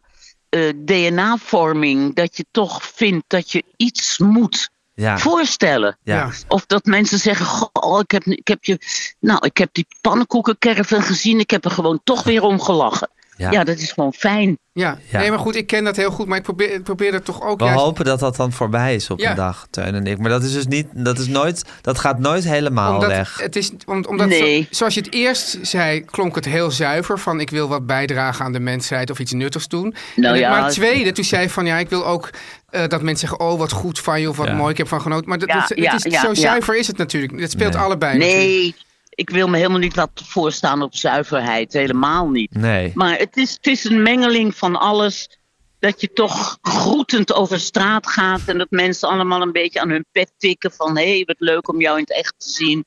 [SPEAKER 8] DNA-vorming. Dat je toch vindt dat je iets moet.
[SPEAKER 6] Ja.
[SPEAKER 8] voorstellen.
[SPEAKER 6] Ja.
[SPEAKER 8] Of dat mensen zeggen, goh, ik heb, ik, heb je, nou, ik heb die pannenkoekenkerven gezien, ik heb er gewoon toch weer om gelachen.
[SPEAKER 6] Ja.
[SPEAKER 8] Ja, dat is gewoon fijn.
[SPEAKER 3] Ja.
[SPEAKER 6] Ja.
[SPEAKER 3] nee, maar goed, ik ken dat heel goed, maar ik probeer, ik probeer dat toch ook
[SPEAKER 6] We
[SPEAKER 3] juist...
[SPEAKER 6] hopen dat dat dan voorbij is op
[SPEAKER 3] Ja.
[SPEAKER 6] een dag, Teun en ik. Maar dat is dus niet, dat is nooit, dat gaat nooit helemaal
[SPEAKER 3] Omdat,
[SPEAKER 6] weg.
[SPEAKER 3] het is, om- omdat zo-
[SPEAKER 8] Nee.
[SPEAKER 3] zoals je het eerst zei, klonk het heel zuiver van ik wil wat bijdragen aan de mensheid of iets nuttigs doen.
[SPEAKER 8] Nou
[SPEAKER 3] En-
[SPEAKER 8] ja.
[SPEAKER 3] Maar het tweede, toen zei je van ja, ik wil ook eh, dat mensen zeggen, oh wat goed van je of wat
[SPEAKER 6] Ja.
[SPEAKER 3] mooi, ik heb van genoten. Maar dat,
[SPEAKER 8] Ja,
[SPEAKER 3] dat- het
[SPEAKER 8] ja,
[SPEAKER 3] is,
[SPEAKER 8] ja,
[SPEAKER 3] zo
[SPEAKER 8] ja.
[SPEAKER 3] zuiver is het natuurlijk. Het speelt
[SPEAKER 6] Nee.
[SPEAKER 3] allebei. natuurlijk.
[SPEAKER 8] Nee, ik wil me helemaal niet laten voorstaan op zuiverheid, helemaal niet.
[SPEAKER 6] Nee.
[SPEAKER 8] Maar het is, het is een mengeling van alles. Dat je toch groetend over straat gaat. En dat mensen allemaal een beetje aan hun pet tikken. Van hé, hey, wat leuk om jou in het echt te zien.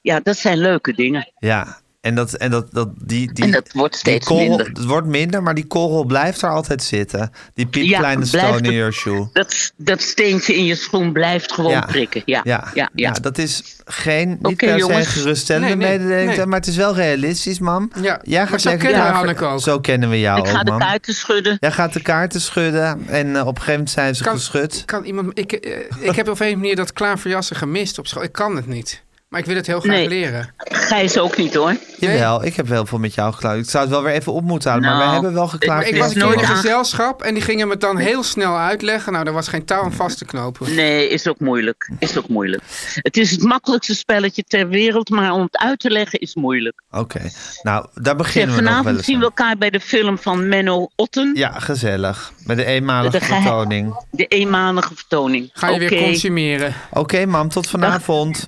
[SPEAKER 8] Ja, dat zijn leuke dingen.
[SPEAKER 6] Ja. En dat, en dat, dat die, die.
[SPEAKER 8] En dat wordt steeds
[SPEAKER 6] die korrel,
[SPEAKER 8] minder.
[SPEAKER 6] Het wordt minder, maar die korrel blijft er altijd zitten. Die piepkleine
[SPEAKER 8] Ja,
[SPEAKER 6] stone
[SPEAKER 8] blijft
[SPEAKER 6] in
[SPEAKER 8] het-
[SPEAKER 6] your shoe.
[SPEAKER 8] Dat, dat steentje in je schoen blijft gewoon prikken. Ja, ja, ja.
[SPEAKER 6] Nou, dat is geen, niet
[SPEAKER 8] Oké,
[SPEAKER 6] per se
[SPEAKER 8] jongens.
[SPEAKER 6] geruststellende
[SPEAKER 3] Nee, nee,
[SPEAKER 6] mededeling,
[SPEAKER 3] nee.
[SPEAKER 6] maar het is wel realistisch, mam.
[SPEAKER 3] Ja,
[SPEAKER 6] Jij
[SPEAKER 3] maar
[SPEAKER 6] gaat
[SPEAKER 3] zo
[SPEAKER 6] lekker
[SPEAKER 3] kennen we
[SPEAKER 6] daar-
[SPEAKER 3] Hanneke ook.
[SPEAKER 6] Zo kennen we jou
[SPEAKER 8] ik ga
[SPEAKER 6] ook,
[SPEAKER 8] de
[SPEAKER 6] mam.
[SPEAKER 8] kaarten schudden.
[SPEAKER 6] Jij gaat de kaarten schudden en eh, op een gegeven moment zijn ze
[SPEAKER 3] Kan-
[SPEAKER 6] geschud.
[SPEAKER 3] Kan iemand, ik, eh, ik heb op een manier dat klaverjassen gemist op school. Ik kan het niet. Maar ik wil het heel graag
[SPEAKER 8] Nee.
[SPEAKER 3] leren.
[SPEAKER 8] Gijs ook niet hoor.
[SPEAKER 6] Jawel, ik heb heel veel met jou geklaagd. Ik zou het wel weer even op moeten halen, maar
[SPEAKER 8] Nou,
[SPEAKER 6] we hebben wel geklaagd.
[SPEAKER 3] Maar ik
[SPEAKER 8] Ja,
[SPEAKER 3] was een
[SPEAKER 8] nooit
[SPEAKER 3] keer in een
[SPEAKER 8] aange-
[SPEAKER 3] gezelschap en die gingen me het dan heel snel uitleggen. Nou, daar was geen touw aan vast te knopen.
[SPEAKER 8] Nee, is ook moeilijk. Is ook moeilijk. Het is het makkelijkste spelletje ter wereld. Maar om het uit te leggen is moeilijk.
[SPEAKER 6] Oké, nou, daar
[SPEAKER 8] Zeg,
[SPEAKER 6] beginnen we nog wel
[SPEAKER 8] vanavond
[SPEAKER 6] eens
[SPEAKER 8] zien we
[SPEAKER 6] aan.
[SPEAKER 8] elkaar bij de film van Menno Otten.
[SPEAKER 6] Ja, gezellig. Met de eenmalige
[SPEAKER 8] De gehe-
[SPEAKER 6] vertoning.
[SPEAKER 8] De eenmalige vertoning.
[SPEAKER 3] Ga je
[SPEAKER 8] Oké,
[SPEAKER 3] weer consumeren.
[SPEAKER 6] Oké, mam, tot vanavond.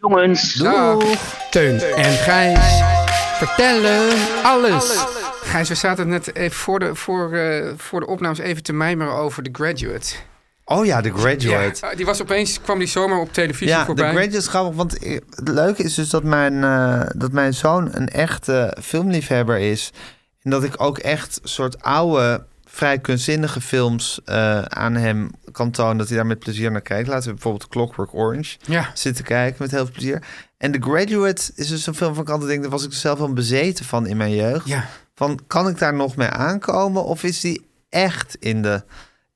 [SPEAKER 8] jongens.
[SPEAKER 3] Dag. Teun en Gijs vertellen alles. Gijs, we zaten net even voor de, voor, eh, voor de opnames even te mijmeren over The Graduate.
[SPEAKER 6] Oh ja, The Graduate.
[SPEAKER 3] Ja, Oh, die was opeens, kwam die zomaar op televisie
[SPEAKER 6] Ja, The
[SPEAKER 3] voorbij.
[SPEAKER 6] Graduate is grappig, want eh, het leuke is dus dat mijn, eh, dat mijn zoon een echte filmliefhebber is. En dat ik ook echt soort oude, vrij kunstzinnige films eh, aan hem kan tonen. Dat hij daar met plezier naar kijkt. Laten we bijvoorbeeld Clockwork Orange
[SPEAKER 3] Ja.
[SPEAKER 6] zitten kijken met heel veel plezier. En The Graduate is dus een film van ik altijd denk, daar was ik zelf wel bezeten van in mijn jeugd.
[SPEAKER 3] Ja.
[SPEAKER 6] Van, kan ik daar nog mee aankomen? Of is die echt in de,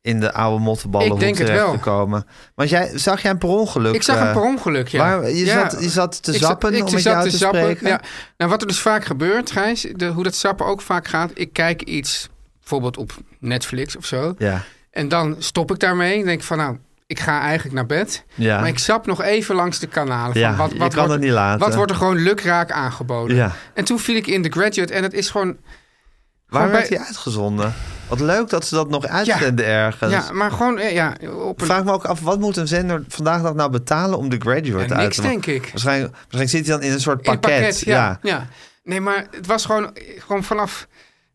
[SPEAKER 6] in de oude mottenballen
[SPEAKER 3] Ik denk het wel.
[SPEAKER 6] terechtgekomen? Want jij, zag jij hem per ongeluk?
[SPEAKER 3] Ik zag hem
[SPEAKER 6] eh,
[SPEAKER 3] per ongeluk, ja.
[SPEAKER 6] Waar, je,
[SPEAKER 3] Ja.
[SPEAKER 6] zat, je zat te
[SPEAKER 3] Ik zat-
[SPEAKER 6] zappen
[SPEAKER 3] ik
[SPEAKER 6] om met
[SPEAKER 3] zat
[SPEAKER 6] jou
[SPEAKER 3] te
[SPEAKER 6] te,
[SPEAKER 3] zappen,
[SPEAKER 6] spreken.
[SPEAKER 3] Ja. Nou, wat er dus vaak gebeurt, Gijs, de, hoe dat zappen ook vaak gaat. Ik kijk iets, bijvoorbeeld op Netflix of zo.
[SPEAKER 6] Ja.
[SPEAKER 3] En dan stop ik daarmee. Dan denk ik van, nou, ik ga eigenlijk naar bed.
[SPEAKER 6] Ja.
[SPEAKER 3] Maar ik sap nog even langs de kanalen. Van
[SPEAKER 6] Ja,
[SPEAKER 3] wat,
[SPEAKER 6] je
[SPEAKER 3] wat
[SPEAKER 6] kan
[SPEAKER 3] wordt,
[SPEAKER 6] het niet laten.
[SPEAKER 3] Wat wordt er gewoon lukraak aangeboden?
[SPEAKER 6] Ja.
[SPEAKER 3] En toen viel ik in The Graduate. En het is gewoon...
[SPEAKER 6] Waar
[SPEAKER 3] gewoon
[SPEAKER 6] werd
[SPEAKER 3] bij-
[SPEAKER 6] hij uitgezonden? Wat leuk dat ze dat nog uitzenden ergens.
[SPEAKER 3] Ja, maar gewoon eh, ja, op een...
[SPEAKER 6] Vraag me ook af, wat moet een zender vandaag dat nou betalen om de graduate
[SPEAKER 3] Ja,
[SPEAKER 6] uit
[SPEAKER 3] niks,
[SPEAKER 6] te maken?
[SPEAKER 3] denk ik.
[SPEAKER 6] Waarschijnlijk, waarschijnlijk zit hij dan in een soort
[SPEAKER 3] in
[SPEAKER 6] pakket.
[SPEAKER 3] ja, ja. Nee, maar het was gewoon, gewoon vanaf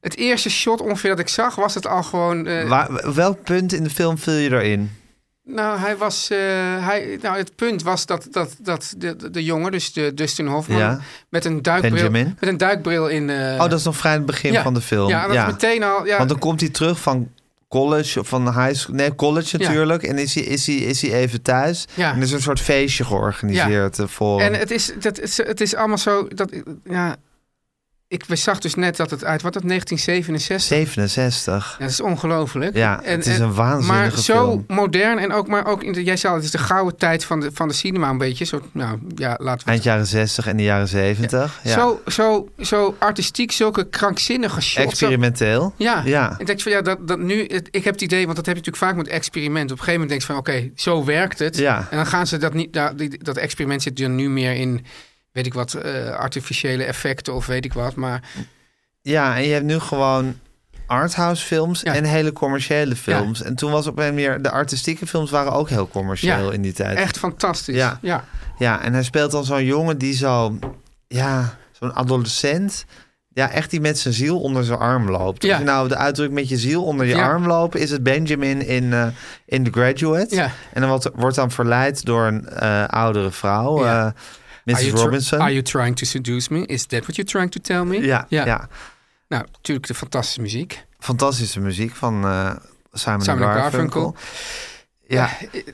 [SPEAKER 3] het eerste shot ongeveer dat ik zag... was het al gewoon... eh,
[SPEAKER 6] Waar- welk punt in de film viel je erin?
[SPEAKER 3] Nou, hij was, eh, hij, nou, het punt was dat, dat, dat de, de- de jongen, dus de Dustin Hoffman,
[SPEAKER 6] Ja.
[SPEAKER 3] met, een duikbril,
[SPEAKER 6] Benjamin.
[SPEAKER 3] met een duikbril in... eh,
[SPEAKER 6] Oh, dat is nog vrij aan het begin
[SPEAKER 3] ja.
[SPEAKER 6] van de film.
[SPEAKER 3] Ja,
[SPEAKER 6] Ja,
[SPEAKER 3] dat is meteen al... Ja,
[SPEAKER 6] Want dan komt hij terug van college, of van high school, nee, college
[SPEAKER 3] Ja.
[SPEAKER 6] natuurlijk. En is hij, is, hij, is hij even thuis.
[SPEAKER 3] Ja.
[SPEAKER 6] En er is een soort feestje georganiseerd eh, voor hem.
[SPEAKER 3] en het is, dat, is- het is allemaal zo... Dat, ja, ik zag dus net dat het uit... Wat dat 1967?
[SPEAKER 6] 67.
[SPEAKER 3] Ja, dat is ongelooflijk.
[SPEAKER 6] Ja, het is een waanzinnige
[SPEAKER 3] Maar zo
[SPEAKER 6] film.
[SPEAKER 3] modern en ook... Maar ook in de, jij zei al, het is de gouden tijd van de, van de cinema een beetje. Zo, nou, ja, laten we het
[SPEAKER 6] Eind jaren 60 en de jaren 70. Ja.
[SPEAKER 3] Zo, zo, zo artistiek, zulke krankzinnige shots. zo-
[SPEAKER 6] Experimenteel.
[SPEAKER 3] Ja,
[SPEAKER 6] ja.
[SPEAKER 3] ik denk van ja, dat, dat nu, het- ik heb het idee, want dat heb je natuurlijk vaak met experimenten. Op een gegeven moment denk je van oké, zo werkt het.
[SPEAKER 6] Ja.
[SPEAKER 3] En dan gaan ze dat niet, nou, die- dat experiment zit er nu meer in, weet ik wat, eh, artificiële effecten of weet ik wat. Maar
[SPEAKER 6] Ja, en je hebt nu gewoon arthouse films
[SPEAKER 3] Ja.
[SPEAKER 6] en hele commerciële films. En toen was op een manier... De artistieke films waren ook heel commercieel
[SPEAKER 3] Ja,
[SPEAKER 6] in die tijd.
[SPEAKER 3] echt fantastisch.
[SPEAKER 6] Ja.
[SPEAKER 3] ja.
[SPEAKER 6] Ja, en hij speelt dan zo'n jongen die zo... Ja, zo'n adolescent... Ja, echt die met zijn ziel onder zijn arm loopt.
[SPEAKER 3] Ja.
[SPEAKER 6] Als je nou de uitdrukking met je ziel onder je
[SPEAKER 3] Ja.
[SPEAKER 6] arm lopen... is het Benjamin in, eh, in The Graduate.
[SPEAKER 3] Ja.
[SPEAKER 6] En dan wordt, wordt dan verleid door een eh, oudere vrouw...
[SPEAKER 3] Ja.
[SPEAKER 6] eh,
[SPEAKER 3] Are
[SPEAKER 6] Mrs.
[SPEAKER 3] you tr-
[SPEAKER 6] Robinson.
[SPEAKER 3] Are you trying to seduce me? Is that what you're trying to tell me?
[SPEAKER 6] Ja, ja.
[SPEAKER 3] Nou, natuurlijk de fantastische muziek.
[SPEAKER 6] fantastische muziek van eh Simon, en
[SPEAKER 3] Simon en
[SPEAKER 6] Garfunkel.
[SPEAKER 3] Garfunkel.
[SPEAKER 6] Ja,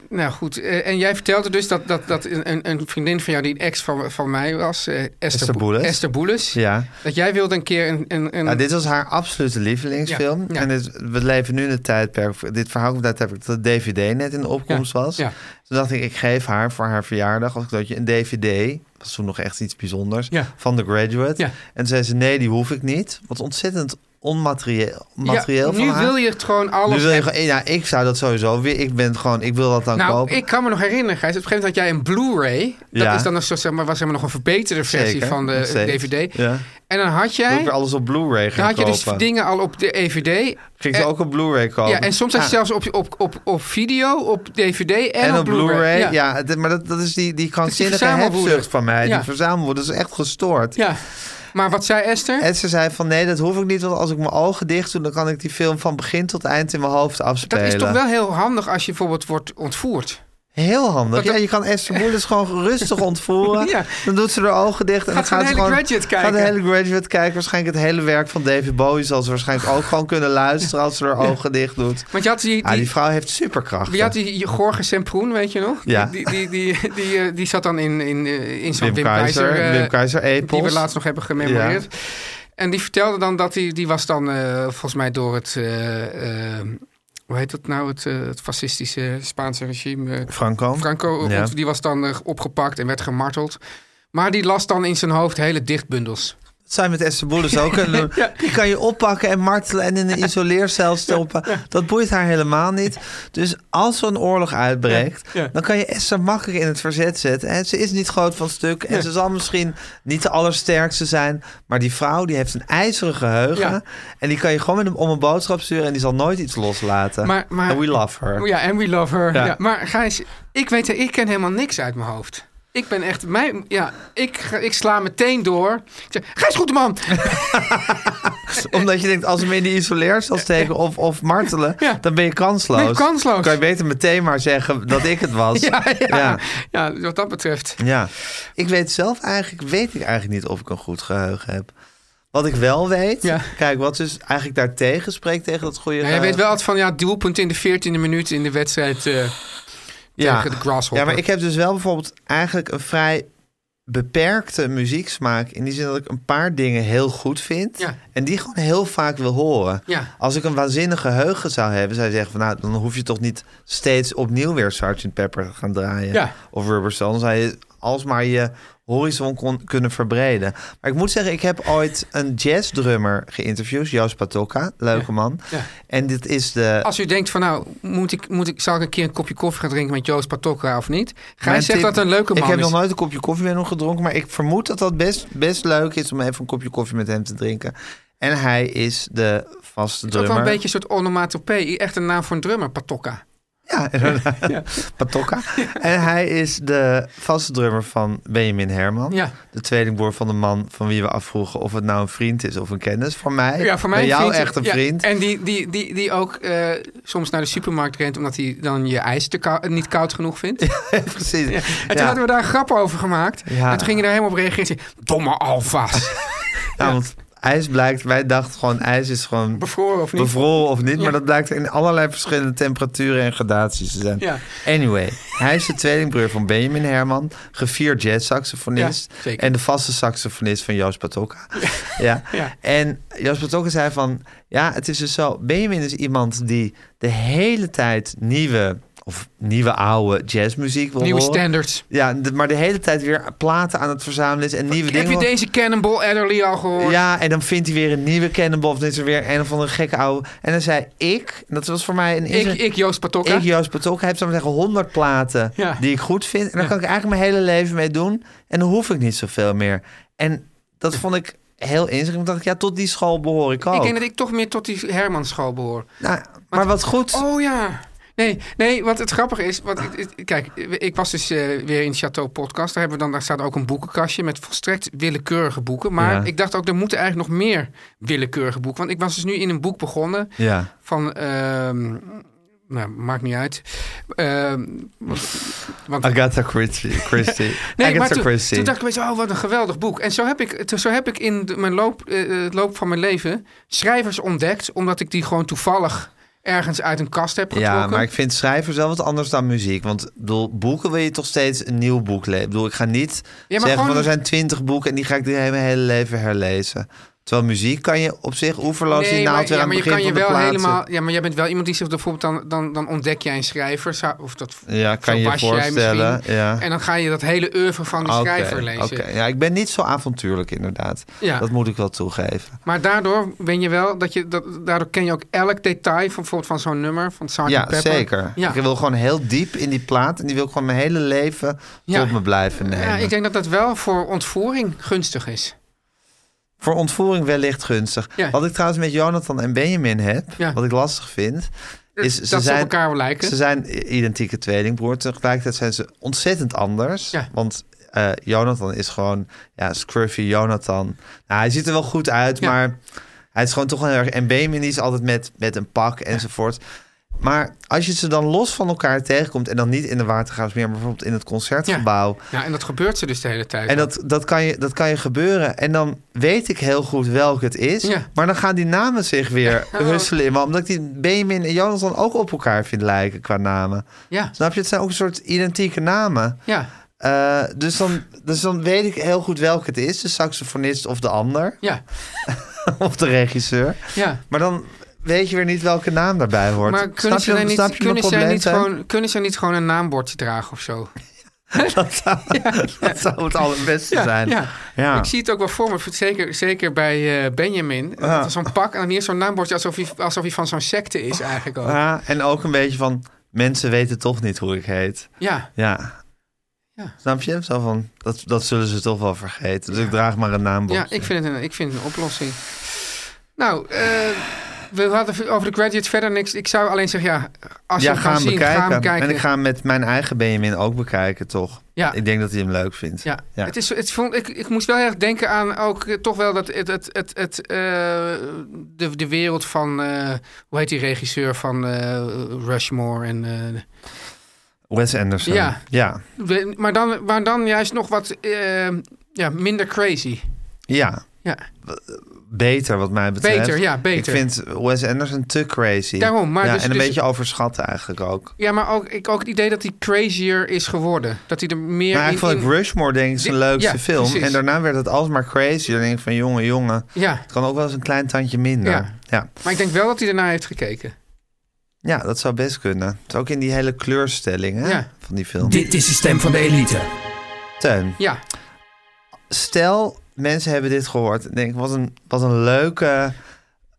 [SPEAKER 3] Nou goed, eh, en jij vertelde dus dat, dat, dat een, een- een vriendin van jou, die een ex van, van mij was, eh, Esther,
[SPEAKER 6] Esther
[SPEAKER 3] Bo-
[SPEAKER 6] Boeles.
[SPEAKER 3] Esther Boeles,
[SPEAKER 6] ja.
[SPEAKER 3] dat jij wilde een keer een... een, een
[SPEAKER 6] Nou, dit was haar absolute lievelingsfilm.
[SPEAKER 3] Mm. Ja, ja.
[SPEAKER 6] En dit, we leven nu in het tijdperk. Dit verhaal komt uit het tijdperk dat de DVD net in de opkomst was.
[SPEAKER 3] ja.
[SPEAKER 6] Toen dacht ik, ik geef haar voor haar verjaardag als cadeautje een DVD. Dat was toen nog echt iets bijzonders.
[SPEAKER 3] Ja.
[SPEAKER 6] Van The Graduate.
[SPEAKER 3] Ja.
[SPEAKER 6] En toen zei ze, nee, die hoef ik niet. Wat ontzettend onmaterieel materieel
[SPEAKER 3] Ja,
[SPEAKER 6] van
[SPEAKER 3] nu
[SPEAKER 6] haar.
[SPEAKER 3] wil je het gewoon alles...
[SPEAKER 6] nu wil je
[SPEAKER 3] hebben.
[SPEAKER 6] gewoon, ja, ik zou dat sowieso weer. Ik ben gewoon, ik wil dat dan
[SPEAKER 3] nou,
[SPEAKER 6] kopen.
[SPEAKER 3] ik kan me nog herinneren, Gijs, op een gegeven moment had jij een Blu-ray. Dat
[SPEAKER 6] Ja.
[SPEAKER 3] is dan een soort, zeg maar, was helemaal nog een verbeterde versie
[SPEAKER 6] Zeker,
[SPEAKER 3] van de eh,
[SPEAKER 6] nog steeds.
[SPEAKER 3] DVD.
[SPEAKER 6] Ja.
[SPEAKER 3] En dan had
[SPEAKER 6] Wil ik
[SPEAKER 3] jij...
[SPEAKER 6] weer alles op Blu-ray gaan
[SPEAKER 3] Dan had je dus
[SPEAKER 6] kopen.
[SPEAKER 3] dingen al op de EVD.
[SPEAKER 6] Ging ze
[SPEAKER 3] eh,
[SPEAKER 6] ook op Blu-ray kopen.
[SPEAKER 3] Ja, en soms had je
[SPEAKER 6] Ah.
[SPEAKER 3] zelfs op, op, op, op video, op DVD en,
[SPEAKER 6] En, op Bluray, Blu-ray, ja.
[SPEAKER 3] ja.
[SPEAKER 6] het- maar dat, dat is die, die krankzinnige
[SPEAKER 3] verzamelwoede.
[SPEAKER 6] hebzucht van mij.
[SPEAKER 3] Ja.
[SPEAKER 6] Die verzamelwoede dat is echt gestoord.
[SPEAKER 3] Ja. Maar wat zei Esther?
[SPEAKER 6] En ze zei van nee, dat hoef ik niet, want als ik mijn ogen dicht doe... dan kan ik die film van begin tot eind in mijn hoofd
[SPEAKER 3] Dat
[SPEAKER 6] afspelen.
[SPEAKER 3] is toch wel heel handig als je bijvoorbeeld wordt ontvoerd.
[SPEAKER 6] Heel handig.
[SPEAKER 3] Dat-
[SPEAKER 6] Ja, je kan Esther Boelis gewoon rustig ontvoeren.
[SPEAKER 3] Ja.
[SPEAKER 6] Dan doet ze haar ogen dicht. en
[SPEAKER 3] Gaat ze
[SPEAKER 6] dan
[SPEAKER 3] de
[SPEAKER 6] gaat ze
[SPEAKER 3] hele
[SPEAKER 6] gewoon,
[SPEAKER 3] Graduate
[SPEAKER 6] Gaat de
[SPEAKER 3] kijken.
[SPEAKER 6] hele graduate kijken. Waarschijnlijk het hele werk van David Bowie... zal ze waarschijnlijk ook gewoon kunnen luisteren als ze haar ogen dicht doet.
[SPEAKER 3] Want je had die,
[SPEAKER 6] Ah,
[SPEAKER 3] die,
[SPEAKER 6] die vrouw heeft
[SPEAKER 3] je had
[SPEAKER 6] superkrachten.
[SPEAKER 3] die Jorge Semproen, weet je nog?
[SPEAKER 6] Ja.
[SPEAKER 3] Die, die, die, die, die, eh, die zat dan in, in, eh, in zo'n
[SPEAKER 6] Wim
[SPEAKER 3] Wim Keizer,
[SPEAKER 6] Keizer,
[SPEAKER 3] eh,
[SPEAKER 6] Wim Keizer
[SPEAKER 3] die we
[SPEAKER 6] Epos.
[SPEAKER 3] laatst nog hebben gememoreerd. En die vertelde dan dat die, die was dan eh, volgens mij door het... eh, eh, hoe heet dat nou? Het, eh, het fascistische Spaanse regime. eh,
[SPEAKER 6] Franco.
[SPEAKER 3] Franco,
[SPEAKER 6] Ja.
[SPEAKER 3] die was dan eh, opgepakt en werd gemarteld. Maar die las dan in zijn hoofd hele dichtbundels.
[SPEAKER 6] Dat zou je met Esther Boelens ook kunnen doen. Die kan je oppakken en martelen en in een isoleercel stoppen. Dat boeit haar helemaal niet. Dus als zo'n oorlog uitbreekt,
[SPEAKER 3] Ja, ja.
[SPEAKER 6] dan kan je Esther makkelijk in het verzet zetten. En ze is niet groot van stuk en
[SPEAKER 3] Nee.
[SPEAKER 6] ze zal misschien niet de allersterkste zijn. Maar die vrouw die heeft een ijzeren geheugen.
[SPEAKER 3] Ja.
[SPEAKER 6] En die kan je gewoon met hem om een boodschap sturen en die zal nooit iets loslaten.
[SPEAKER 3] Maar- maar-
[SPEAKER 6] And we love her.
[SPEAKER 3] Oh Ja, and we love her.
[SPEAKER 6] Ja.
[SPEAKER 3] Ja. maar Gijs, ik, weet, ik ken helemaal niks uit mijn hoofd. Ik ben echt, mijn, ja, ik, ga- ik sla meteen door. Ik zeg, Gijs Goedeman!
[SPEAKER 6] Omdat je denkt, als we hem in die isoleercel steken of, of martelen,
[SPEAKER 3] Ja.
[SPEAKER 6] dan ben je kansloos.
[SPEAKER 3] Nee, kansloos.
[SPEAKER 6] Oh, Kan je beter meteen maar zeggen dat ik het was.
[SPEAKER 3] Ja, ja.
[SPEAKER 6] Ja.
[SPEAKER 3] Ja. wat dat betreft.
[SPEAKER 6] Ja, ik weet zelf eigenlijk, weet ik eigenlijk niet of ik een goed geheugen heb. Wat ik wel weet,
[SPEAKER 3] Ja.
[SPEAKER 6] kijk, wat dus eigenlijk daartegen spreekt tegen dat goede
[SPEAKER 3] Ja, jij
[SPEAKER 6] geheugen.
[SPEAKER 3] weet wel altijd van, ja, doelpunt in de 14e minuut in de wedstrijd eh, tegen de Grasshopper.
[SPEAKER 6] Ja, maar ik heb dus wel bijvoorbeeld eigenlijk een vrij beperkte muzieksmaak. In die zin dat ik een paar dingen heel goed vind.
[SPEAKER 3] Ja.
[SPEAKER 6] En die gewoon heel vaak wil horen.
[SPEAKER 3] Ja.
[SPEAKER 6] Als ik een waanzinnig geheugen zou hebben, zou je zeggen van nou, dan hoef je toch niet steeds opnieuw weer Sgt. Pepper te gaan draaien.
[SPEAKER 3] Ja.
[SPEAKER 6] Of Rubber Soul. Dan zou je alsmaar je horizon kon, kunnen verbreden. Maar ik moet zeggen, ik heb ooit een jazzdrummer geïnterviewd, Joost Patokka, leuke man.
[SPEAKER 3] Ja.
[SPEAKER 6] En dit is de
[SPEAKER 3] Als u denkt van, nou, moet ik, moet ik, zal ik een keer een kopje koffie gaan drinken met Joost Patokka of niet?
[SPEAKER 6] Mijn
[SPEAKER 3] Gijs zegt
[SPEAKER 6] tip-
[SPEAKER 3] dat het een leuke man
[SPEAKER 6] Ik heb
[SPEAKER 3] is.
[SPEAKER 6] nog nooit een kopje koffie met hem gedronken, maar ik vermoed dat dat best, best leuk is om even een kopje koffie met hem te drinken. En hij is de
[SPEAKER 3] Het is
[SPEAKER 6] vaste
[SPEAKER 3] ook wel
[SPEAKER 6] drummer.
[SPEAKER 3] een beetje een soort onomatopee. Echt een naam voor een drummer, Patokka.
[SPEAKER 6] Ja, inderdaad. Patokka. En hij is de vaste drummer van Benjamin Herman.
[SPEAKER 3] Ja.
[SPEAKER 6] De tweelingbroer van de man van wie we afvroegen of het nou een vriend is of een kennis. Voor mij,
[SPEAKER 3] Ja, voor mij
[SPEAKER 6] bij jou
[SPEAKER 3] vriend-
[SPEAKER 6] echt een
[SPEAKER 3] ja,
[SPEAKER 6] vriend.
[SPEAKER 3] en die, die, die, die ook eh, soms naar de supermarkt rent... omdat hij dan je ijs te kou- niet koud genoeg vindt.
[SPEAKER 6] Precies. Ja.
[SPEAKER 3] En toen hadden we daar grappen over gemaakt.
[SPEAKER 6] Ja.
[SPEAKER 3] En toen ging je daar helemaal op reageren. Domme alfa's.
[SPEAKER 6] Nou, want ijs blijkt, wij dachten gewoon ijs is gewoon
[SPEAKER 3] Bevroren of niet?
[SPEAKER 6] bevroren of niet.
[SPEAKER 3] Ja.
[SPEAKER 6] Maar dat blijkt in allerlei verschillende temperaturen en gradaties te zijn.
[SPEAKER 3] Ja.
[SPEAKER 6] Anyway, hij is de tweelingbroer van Benjamin Herman, gevierd jazzsaxofonist.
[SPEAKER 3] Ja, zeker.
[SPEAKER 6] en de vaste saxofonist van Joost Patokka. Ja.
[SPEAKER 3] Ja.
[SPEAKER 6] En Joost Patokka zei van, ja, het is dus zo, Benjamin is iemand die de hele tijd nieuwe of nieuwe oude jazzmuziek wil
[SPEAKER 3] Nieuwe
[SPEAKER 6] horen.
[SPEAKER 3] standards.
[SPEAKER 6] Ja, de- maar de hele tijd weer platen aan het verzamelen is en nieuwe dingen.
[SPEAKER 3] Heb je
[SPEAKER 6] wil-
[SPEAKER 3] deze Cannonball Adderley al gehoord?
[SPEAKER 6] ja, en dan vindt hij weer een nieuwe cannonball. Of dan is er weer een of andere gekke oude. En dan zei ik, dat was voor mij een...
[SPEAKER 3] Ik, ik, Joost Patokka.
[SPEAKER 6] ik, Joost Patok, heb zo maar zeggen 100 platen
[SPEAKER 3] Ja.
[SPEAKER 6] die ik goed vind. En daar kan ik eigenlijk mijn hele leven mee doen. En dan hoef ik niet zoveel meer. En dat vond ik heel inzicht. Ik dacht, ik, ja, tot die school behoor ik ook.
[SPEAKER 3] ik denk dat ik toch meer tot die Hermanschool behoor.
[SPEAKER 6] Nou, maar wat goed.
[SPEAKER 3] Oh ja. Nee, nee, wat het grappige is, wat, het- het- kijk, ik was dus eh, weer in Chateau Podcast. Daar, hebben we dan, daar staat ook een boekenkastje met volstrekt willekeurige boeken. Maar
[SPEAKER 6] Ja.
[SPEAKER 3] ik dacht ook, er moeten eigenlijk nog meer willekeurige boeken. Want ik was dus nu in een boek begonnen
[SPEAKER 6] Ja.
[SPEAKER 3] van, ehm, nou, maakt niet uit. Ehm, want,
[SPEAKER 6] Agatha Christie. Christie.
[SPEAKER 3] nee, maar
[SPEAKER 6] Agatha
[SPEAKER 3] toen,
[SPEAKER 6] Christie.
[SPEAKER 3] toen dacht ik, weet je, oh, wat een geweldig boek. En zo heb ik, zo heb ik eh, in de- mijn loop, eh, het loop van mijn leven schrijvers ontdekt, omdat ik die gewoon toevallig ergens uit een kast heb getrokken.
[SPEAKER 6] Ja, maar ik vind schrijvers wel wat anders dan muziek. Want ik bedoel, boeken wil je toch steeds een nieuw boek lezen. Ik bedoel, ik ga niet
[SPEAKER 3] maar
[SPEAKER 6] zeggen
[SPEAKER 3] gewoon-
[SPEAKER 6] van er zijn twintig boeken en die ga ik de- mijn hele leven herlezen. Terwijl muziek kan je op zich oeverloos die naald weer
[SPEAKER 3] ja,
[SPEAKER 6] aan
[SPEAKER 3] maar
[SPEAKER 6] het
[SPEAKER 3] je
[SPEAKER 6] begin
[SPEAKER 3] kan je
[SPEAKER 6] van de
[SPEAKER 3] wel
[SPEAKER 6] plaatsen.
[SPEAKER 3] helemaal. Ja, maar jij bent wel iemand die zich bijvoorbeeld dan, dan, dan ontdek jij een schrijver. zou- Of dat
[SPEAKER 6] Ja, kan
[SPEAKER 3] zo
[SPEAKER 6] je je
[SPEAKER 3] was jij
[SPEAKER 6] voorstellen,
[SPEAKER 3] misschien.
[SPEAKER 6] ja.
[SPEAKER 3] En dan ga je dat hele oeuvre van die
[SPEAKER 6] Oké,
[SPEAKER 3] schrijver lezen.
[SPEAKER 6] oké. Ja, ik ben niet zo avontuurlijk inderdaad.
[SPEAKER 3] Ja.
[SPEAKER 6] Dat moet ik wel toegeven.
[SPEAKER 3] Maar daardoor ben je wel dat je dat, daardoor ken je ook elk detail van bijvoorbeeld van zo'n nummer van Sgt.
[SPEAKER 6] ja,
[SPEAKER 3] Pepper.
[SPEAKER 6] zeker.
[SPEAKER 3] Ja.
[SPEAKER 6] Ik wil gewoon heel diep in die plaat en die wil ik gewoon mijn hele leven
[SPEAKER 3] Ja.
[SPEAKER 6] tot me blijven nemen.
[SPEAKER 3] Ja, ik denk dat dat wel voor ontvoering gunstig is.
[SPEAKER 6] Voor ontvoering wellicht gunstig.
[SPEAKER 3] Ja.
[SPEAKER 6] Wat ik trouwens met Jonathan en Benjamin heb,
[SPEAKER 3] Ja.
[SPEAKER 6] wat ik lastig vind, is ze
[SPEAKER 3] dat ze op
[SPEAKER 6] zijn
[SPEAKER 3] elkaar wel lijken.
[SPEAKER 6] Ze zijn identieke tweelingbroer. Tegelijkertijd zijn ze ontzettend anders.
[SPEAKER 3] Ja.
[SPEAKER 6] Want eh, Jonathan is gewoon ja, scruffy Jonathan. Nou, hij ziet er wel goed uit,
[SPEAKER 3] Ja.
[SPEAKER 6] maar hij is gewoon toch wel heel erg. En Benjamin die is altijd met, met een pak enzovoort. Maar als je ze dan los van elkaar tegenkomt en dan niet in de watergraafs meer, maar bijvoorbeeld in het concertgebouw,
[SPEAKER 3] Ja, en dat gebeurt ze dus de hele tijd.
[SPEAKER 6] en dat, dat, kan je, dat kan je gebeuren. En dan weet ik heel goed welk het is.
[SPEAKER 3] Ja. Oh.
[SPEAKER 6] Maar dan gaan die namen zich weer husselen in me. Omdat ik die Benjamin en Jonathan ook op elkaar vind lijken qua namen.
[SPEAKER 3] Ja,
[SPEAKER 6] Snap je? Het zijn ook een soort identieke namen.
[SPEAKER 3] ja,
[SPEAKER 6] Eh, dus, dan, dus dan weet ik heel goed welk het is. De saxofonist of de ander.
[SPEAKER 3] ja,
[SPEAKER 6] Of de regisseur.
[SPEAKER 3] ja.
[SPEAKER 6] Maar dan weet je weer niet welke naam daarbij hoort.
[SPEAKER 3] Maar kunnen
[SPEAKER 6] snap je,
[SPEAKER 3] ze dan
[SPEAKER 6] dan snap
[SPEAKER 3] niet,
[SPEAKER 6] je mijn
[SPEAKER 3] kunnen zij
[SPEAKER 6] probleem
[SPEAKER 3] niet,
[SPEAKER 6] zijn?
[SPEAKER 3] gewoon, kunnen zij niet gewoon een naambordje dragen of zo?
[SPEAKER 6] Dat zou, dat zou het allerbeste
[SPEAKER 3] Ja,
[SPEAKER 6] zijn.
[SPEAKER 3] ja.
[SPEAKER 6] Ja.
[SPEAKER 3] Ik zie het ook wel voor me, zeker, zeker bij eh, Benjamin.
[SPEAKER 6] Ja.
[SPEAKER 3] Dat er Zo'n pak en dan hier zo'n naambordje, alsof hij, alsof hij van zo'n secte is eigenlijk ook.
[SPEAKER 6] Ja, Ah, en ook een beetje van... mensen weten toch niet hoe ik heet.
[SPEAKER 3] Ja,
[SPEAKER 6] Ja.
[SPEAKER 3] Ja.
[SPEAKER 6] Snap je? Zo van, dat, dat zullen ze toch wel vergeten. Dus ik draag maar een naambord.
[SPEAKER 3] ja ik, vind het een, ik vind het een oplossing. Nou, eh, we hadden over de graduates verder niks. Ik zou alleen zeggen, ja, als
[SPEAKER 6] ja,
[SPEAKER 3] je hem
[SPEAKER 6] ga
[SPEAKER 3] gaat
[SPEAKER 6] hem
[SPEAKER 3] zien,
[SPEAKER 6] bekijken.
[SPEAKER 3] ga hem kijken.
[SPEAKER 6] En ik ga hem met mijn eigen Benjamin ook bekijken, toch?
[SPEAKER 3] Ja.
[SPEAKER 6] Ik denk dat hij hem leuk vindt.
[SPEAKER 3] Ja,
[SPEAKER 6] Ja.
[SPEAKER 3] Het is, het vond, ik, ik moest wel erg denken aan ook eh, toch wel dat het, het, het, het, eh, de, de wereld van, eh, hoe heet die regisseur van eh, Rushmore en... eh,
[SPEAKER 6] Wes Anderson.
[SPEAKER 3] Ja.
[SPEAKER 6] Ja.
[SPEAKER 3] we- maar, dan, maar dan juist nog wat eh, ja, minder crazy.
[SPEAKER 6] Ja.
[SPEAKER 3] Ja,
[SPEAKER 6] Beter, wat mij betreft.
[SPEAKER 3] Beter, ja, beter.
[SPEAKER 6] Ik vind Wes Anderson te crazy.
[SPEAKER 3] Daarom, maar
[SPEAKER 6] ja,
[SPEAKER 3] dus-
[SPEAKER 6] en een
[SPEAKER 3] dus-
[SPEAKER 6] beetje overschat eigenlijk ook.
[SPEAKER 3] ja maar ook, ik, ook het idee dat hij crazier is geworden. Dat hij er meer
[SPEAKER 6] Maar
[SPEAKER 3] in-
[SPEAKER 6] eigenlijk
[SPEAKER 3] in-
[SPEAKER 6] vond ik Rushmore denk ik zijn
[SPEAKER 3] Ja,
[SPEAKER 6] leukste film.
[SPEAKER 3] precies.
[SPEAKER 6] En daarna werd het alsmaar crazy. Dan denk ik van, jongen, jongen.
[SPEAKER 3] Ja,
[SPEAKER 6] Het kan ook wel eens een klein tandje minder.
[SPEAKER 3] Ja.
[SPEAKER 6] ja.
[SPEAKER 3] maar ik denk wel dat hij ernaar heeft gekeken.
[SPEAKER 6] Ja, dat zou best kunnen. Het is ook in die hele kleurstelling hè,
[SPEAKER 3] Ja.
[SPEAKER 6] van die film.
[SPEAKER 4] Dit is de stem van de elite.
[SPEAKER 6] Teun,
[SPEAKER 3] Ja,
[SPEAKER 6] stel mensen hebben dit gehoord en denken wat een, wat een leuke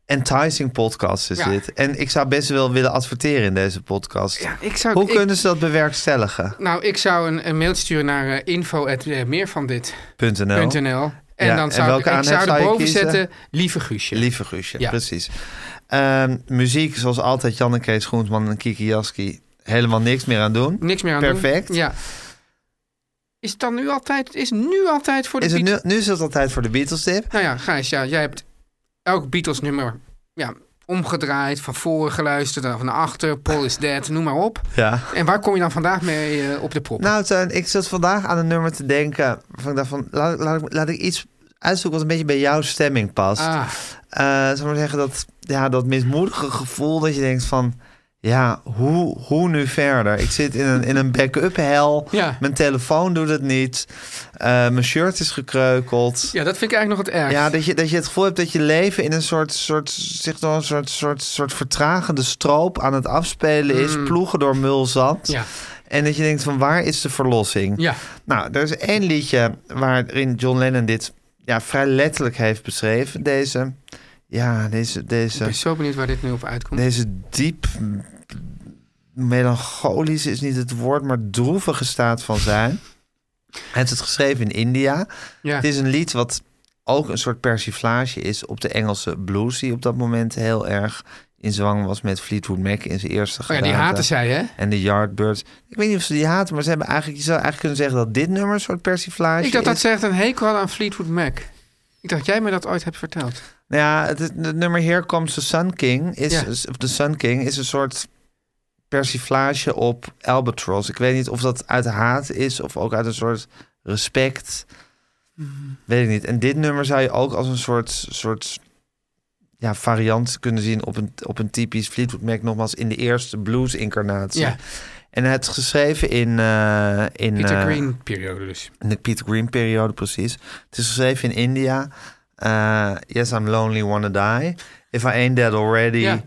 [SPEAKER 6] enticing podcast is
[SPEAKER 3] Ja.
[SPEAKER 6] dit. En ik zou best wel willen adverteren in deze podcast.
[SPEAKER 3] ja ik zou...
[SPEAKER 6] Hoe
[SPEAKER 3] Nou, ik-
[SPEAKER 6] kunnen ze dat bewerkstelligen?
[SPEAKER 3] Nou, ik zou een, een mail sturen naar eh, info at, eh, meer van dit.
[SPEAKER 6] .nl.
[SPEAKER 3] NL. En
[SPEAKER 6] Ja,
[SPEAKER 3] dan
[SPEAKER 6] en
[SPEAKER 3] zou
[SPEAKER 6] welke
[SPEAKER 3] ik, ik
[SPEAKER 6] aanhef
[SPEAKER 3] zou
[SPEAKER 6] zou je
[SPEAKER 3] erboven
[SPEAKER 6] kiezen?
[SPEAKER 3] zetten, lieve Guusje.
[SPEAKER 6] Lieve Guusje,
[SPEAKER 3] Ja.
[SPEAKER 6] precies. Ehm, muziek, zoals altijd, Jan en Kees Groensman en Kiki Jaski. Helemaal niks meer aan doen.
[SPEAKER 3] Niks meer aan
[SPEAKER 6] Perfect.
[SPEAKER 3] doen. Ja. Is het dan nu altijd, is nu altijd voor de
[SPEAKER 6] Is het nu,
[SPEAKER 3] Beatles?
[SPEAKER 6] nu is het altijd voor de Beatles tip.
[SPEAKER 3] Nou ja, Gijs, ja, jij hebt elk Beatles nummer ja, omgedraaid, van voren geluisterd, dan van naar achter, Paul is Dead, noem maar op.
[SPEAKER 6] Ja.
[SPEAKER 3] En waar kom je dan vandaag mee eh, op de prop?
[SPEAKER 6] Nou, Teun, ik zat vandaag aan een nummer te denken. Waarvan ik dacht van, laat, laat, ik- laat ik iets uitzoeken wat een beetje bij jouw stemming past. Eh
[SPEAKER 3] ah,
[SPEAKER 6] zal ik maar zeggen, dat, ja, dat mismoedige gevoel dat je denkt van... Ja, hoe, hoe nu verder? Ik zit in een, in een back-up hel.
[SPEAKER 3] Ja.
[SPEAKER 6] Mijn telefoon doet het niet. Eh, mijn shirt is gekreukeld.
[SPEAKER 3] ja, dat vind ik eigenlijk nog het ergst.
[SPEAKER 6] Ja, dat je, dat je het gevoel hebt dat je leven in een soort, soort, zich door een soort, soort, soort vertragende stroop aan het afspelen is. Ploegen door mulzand.
[SPEAKER 3] Hmm. Ja.
[SPEAKER 6] En dat je denkt van waar is de verlossing?
[SPEAKER 3] Ja.
[SPEAKER 6] Nou, er is één liedje waarin John Lennon dit ja, vrij letterlijk heeft beschreven. Deze, ja, deze,
[SPEAKER 3] Ik
[SPEAKER 6] deze,
[SPEAKER 3] ben zo benieuwd waar dit nu op uitkomt.
[SPEAKER 6] deze diep melancholisch is niet het woord, maar droevige staat van zijn. Hij heeft het geschreven in India.
[SPEAKER 3] ja.
[SPEAKER 6] Het is een lied wat ook een soort persiflage is op de Engelse blues... die op dat moment heel erg in zwang was met Fleetwood Mac in zijn eerste
[SPEAKER 3] oh, ja, die
[SPEAKER 6] gedaante.
[SPEAKER 3] haten zij, hè?
[SPEAKER 6] En de Yardbirds. Ik weet niet of ze die haten, maar ze hebben eigenlijk... je zou eigenlijk kunnen zeggen dat dit nummer een soort persiflage
[SPEAKER 3] Ik dacht dat
[SPEAKER 6] is.
[SPEAKER 3] ze echt een hekel hadden aan Fleetwood Mac. Ik dacht jij me dat ooit hebt verteld.
[SPEAKER 6] Nou ja, het, het- het nummer Here Comes the Sun King... Is,
[SPEAKER 3] Ja.
[SPEAKER 6] is- of The Sun King is een soort persiflage op Albatross. Ik weet niet of dat uit haat is of ook uit een soort
[SPEAKER 3] Mhm.
[SPEAKER 6] respect. Weet ik niet. En dit nummer zou je ook als een soort... soort ja, variant kunnen zien op een, op een typisch Fleetwood Mac, nogmaals in de eerste blues-incarnatie.
[SPEAKER 3] Ja.
[SPEAKER 6] En hij heeft het geschreven in, eh, in,
[SPEAKER 3] Peter
[SPEAKER 6] eh,
[SPEAKER 3] Green periode dus.
[SPEAKER 6] in de Peter Green-periode, precies. Het is geschreven in India. Eh, yes, I'm lonely, wanna die. If I ain't dead already,
[SPEAKER 3] Ja.
[SPEAKER 6] eh,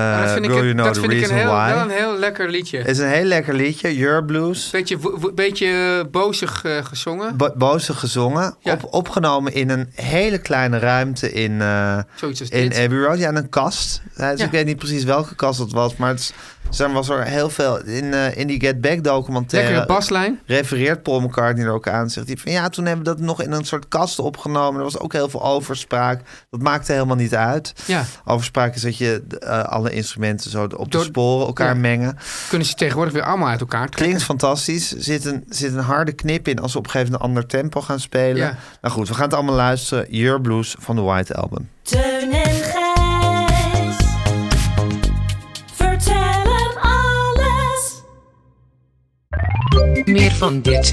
[SPEAKER 3] Maar dat vind ik,
[SPEAKER 6] girl, you
[SPEAKER 3] een-
[SPEAKER 6] know
[SPEAKER 3] dat
[SPEAKER 6] the
[SPEAKER 3] vind ik een
[SPEAKER 6] reason
[SPEAKER 3] heel,
[SPEAKER 6] why.
[SPEAKER 3] wel een heel lekker liedje.
[SPEAKER 6] Het is een heel lekker liedje, Your Blues.
[SPEAKER 3] Beetje, wo- wo- beetje bozig eh, gezongen.
[SPEAKER 6] Bo- Bozig gezongen.
[SPEAKER 3] Ja.
[SPEAKER 6] Op, opgenomen in een hele kleine ruimte in, eh,
[SPEAKER 3] Zoiets als
[SPEAKER 6] in
[SPEAKER 3] dit.
[SPEAKER 6] Abbey Road. Ja, in een kast. Ja, dus
[SPEAKER 3] Ja.
[SPEAKER 6] Ik weet niet precies welke kast dat was. Maar het is- er was er heel veel. In, eh, in die Get Back documentaire
[SPEAKER 3] Lekkere baslijn.
[SPEAKER 6] refereert Paul McCartney er ook aan. Zegt hij van ja, toen hebben we dat nog in een soort kast opgenomen. Er was ook heel veel overspraak. Dat maakte helemaal niet uit.
[SPEAKER 3] Ja.
[SPEAKER 6] Overspraak is dat je eh, alle instrumenten zo op de
[SPEAKER 3] Door-
[SPEAKER 6] sporen elkaar
[SPEAKER 3] ja.
[SPEAKER 6] mengen.
[SPEAKER 3] Kunnen ze tegenwoordig weer allemaal uit elkaar trekken.
[SPEAKER 6] Klinkt fantastisch. Zit een, zit een harde knip in als we op een gegeven moment een ander tempo gaan spelen.
[SPEAKER 3] Ja.
[SPEAKER 6] Nou goed, we gaan het allemaal luisteren. Your Blues van de White Album.
[SPEAKER 7] Teun en Gijs. Vertel hem alles.
[SPEAKER 9] Meer van dit.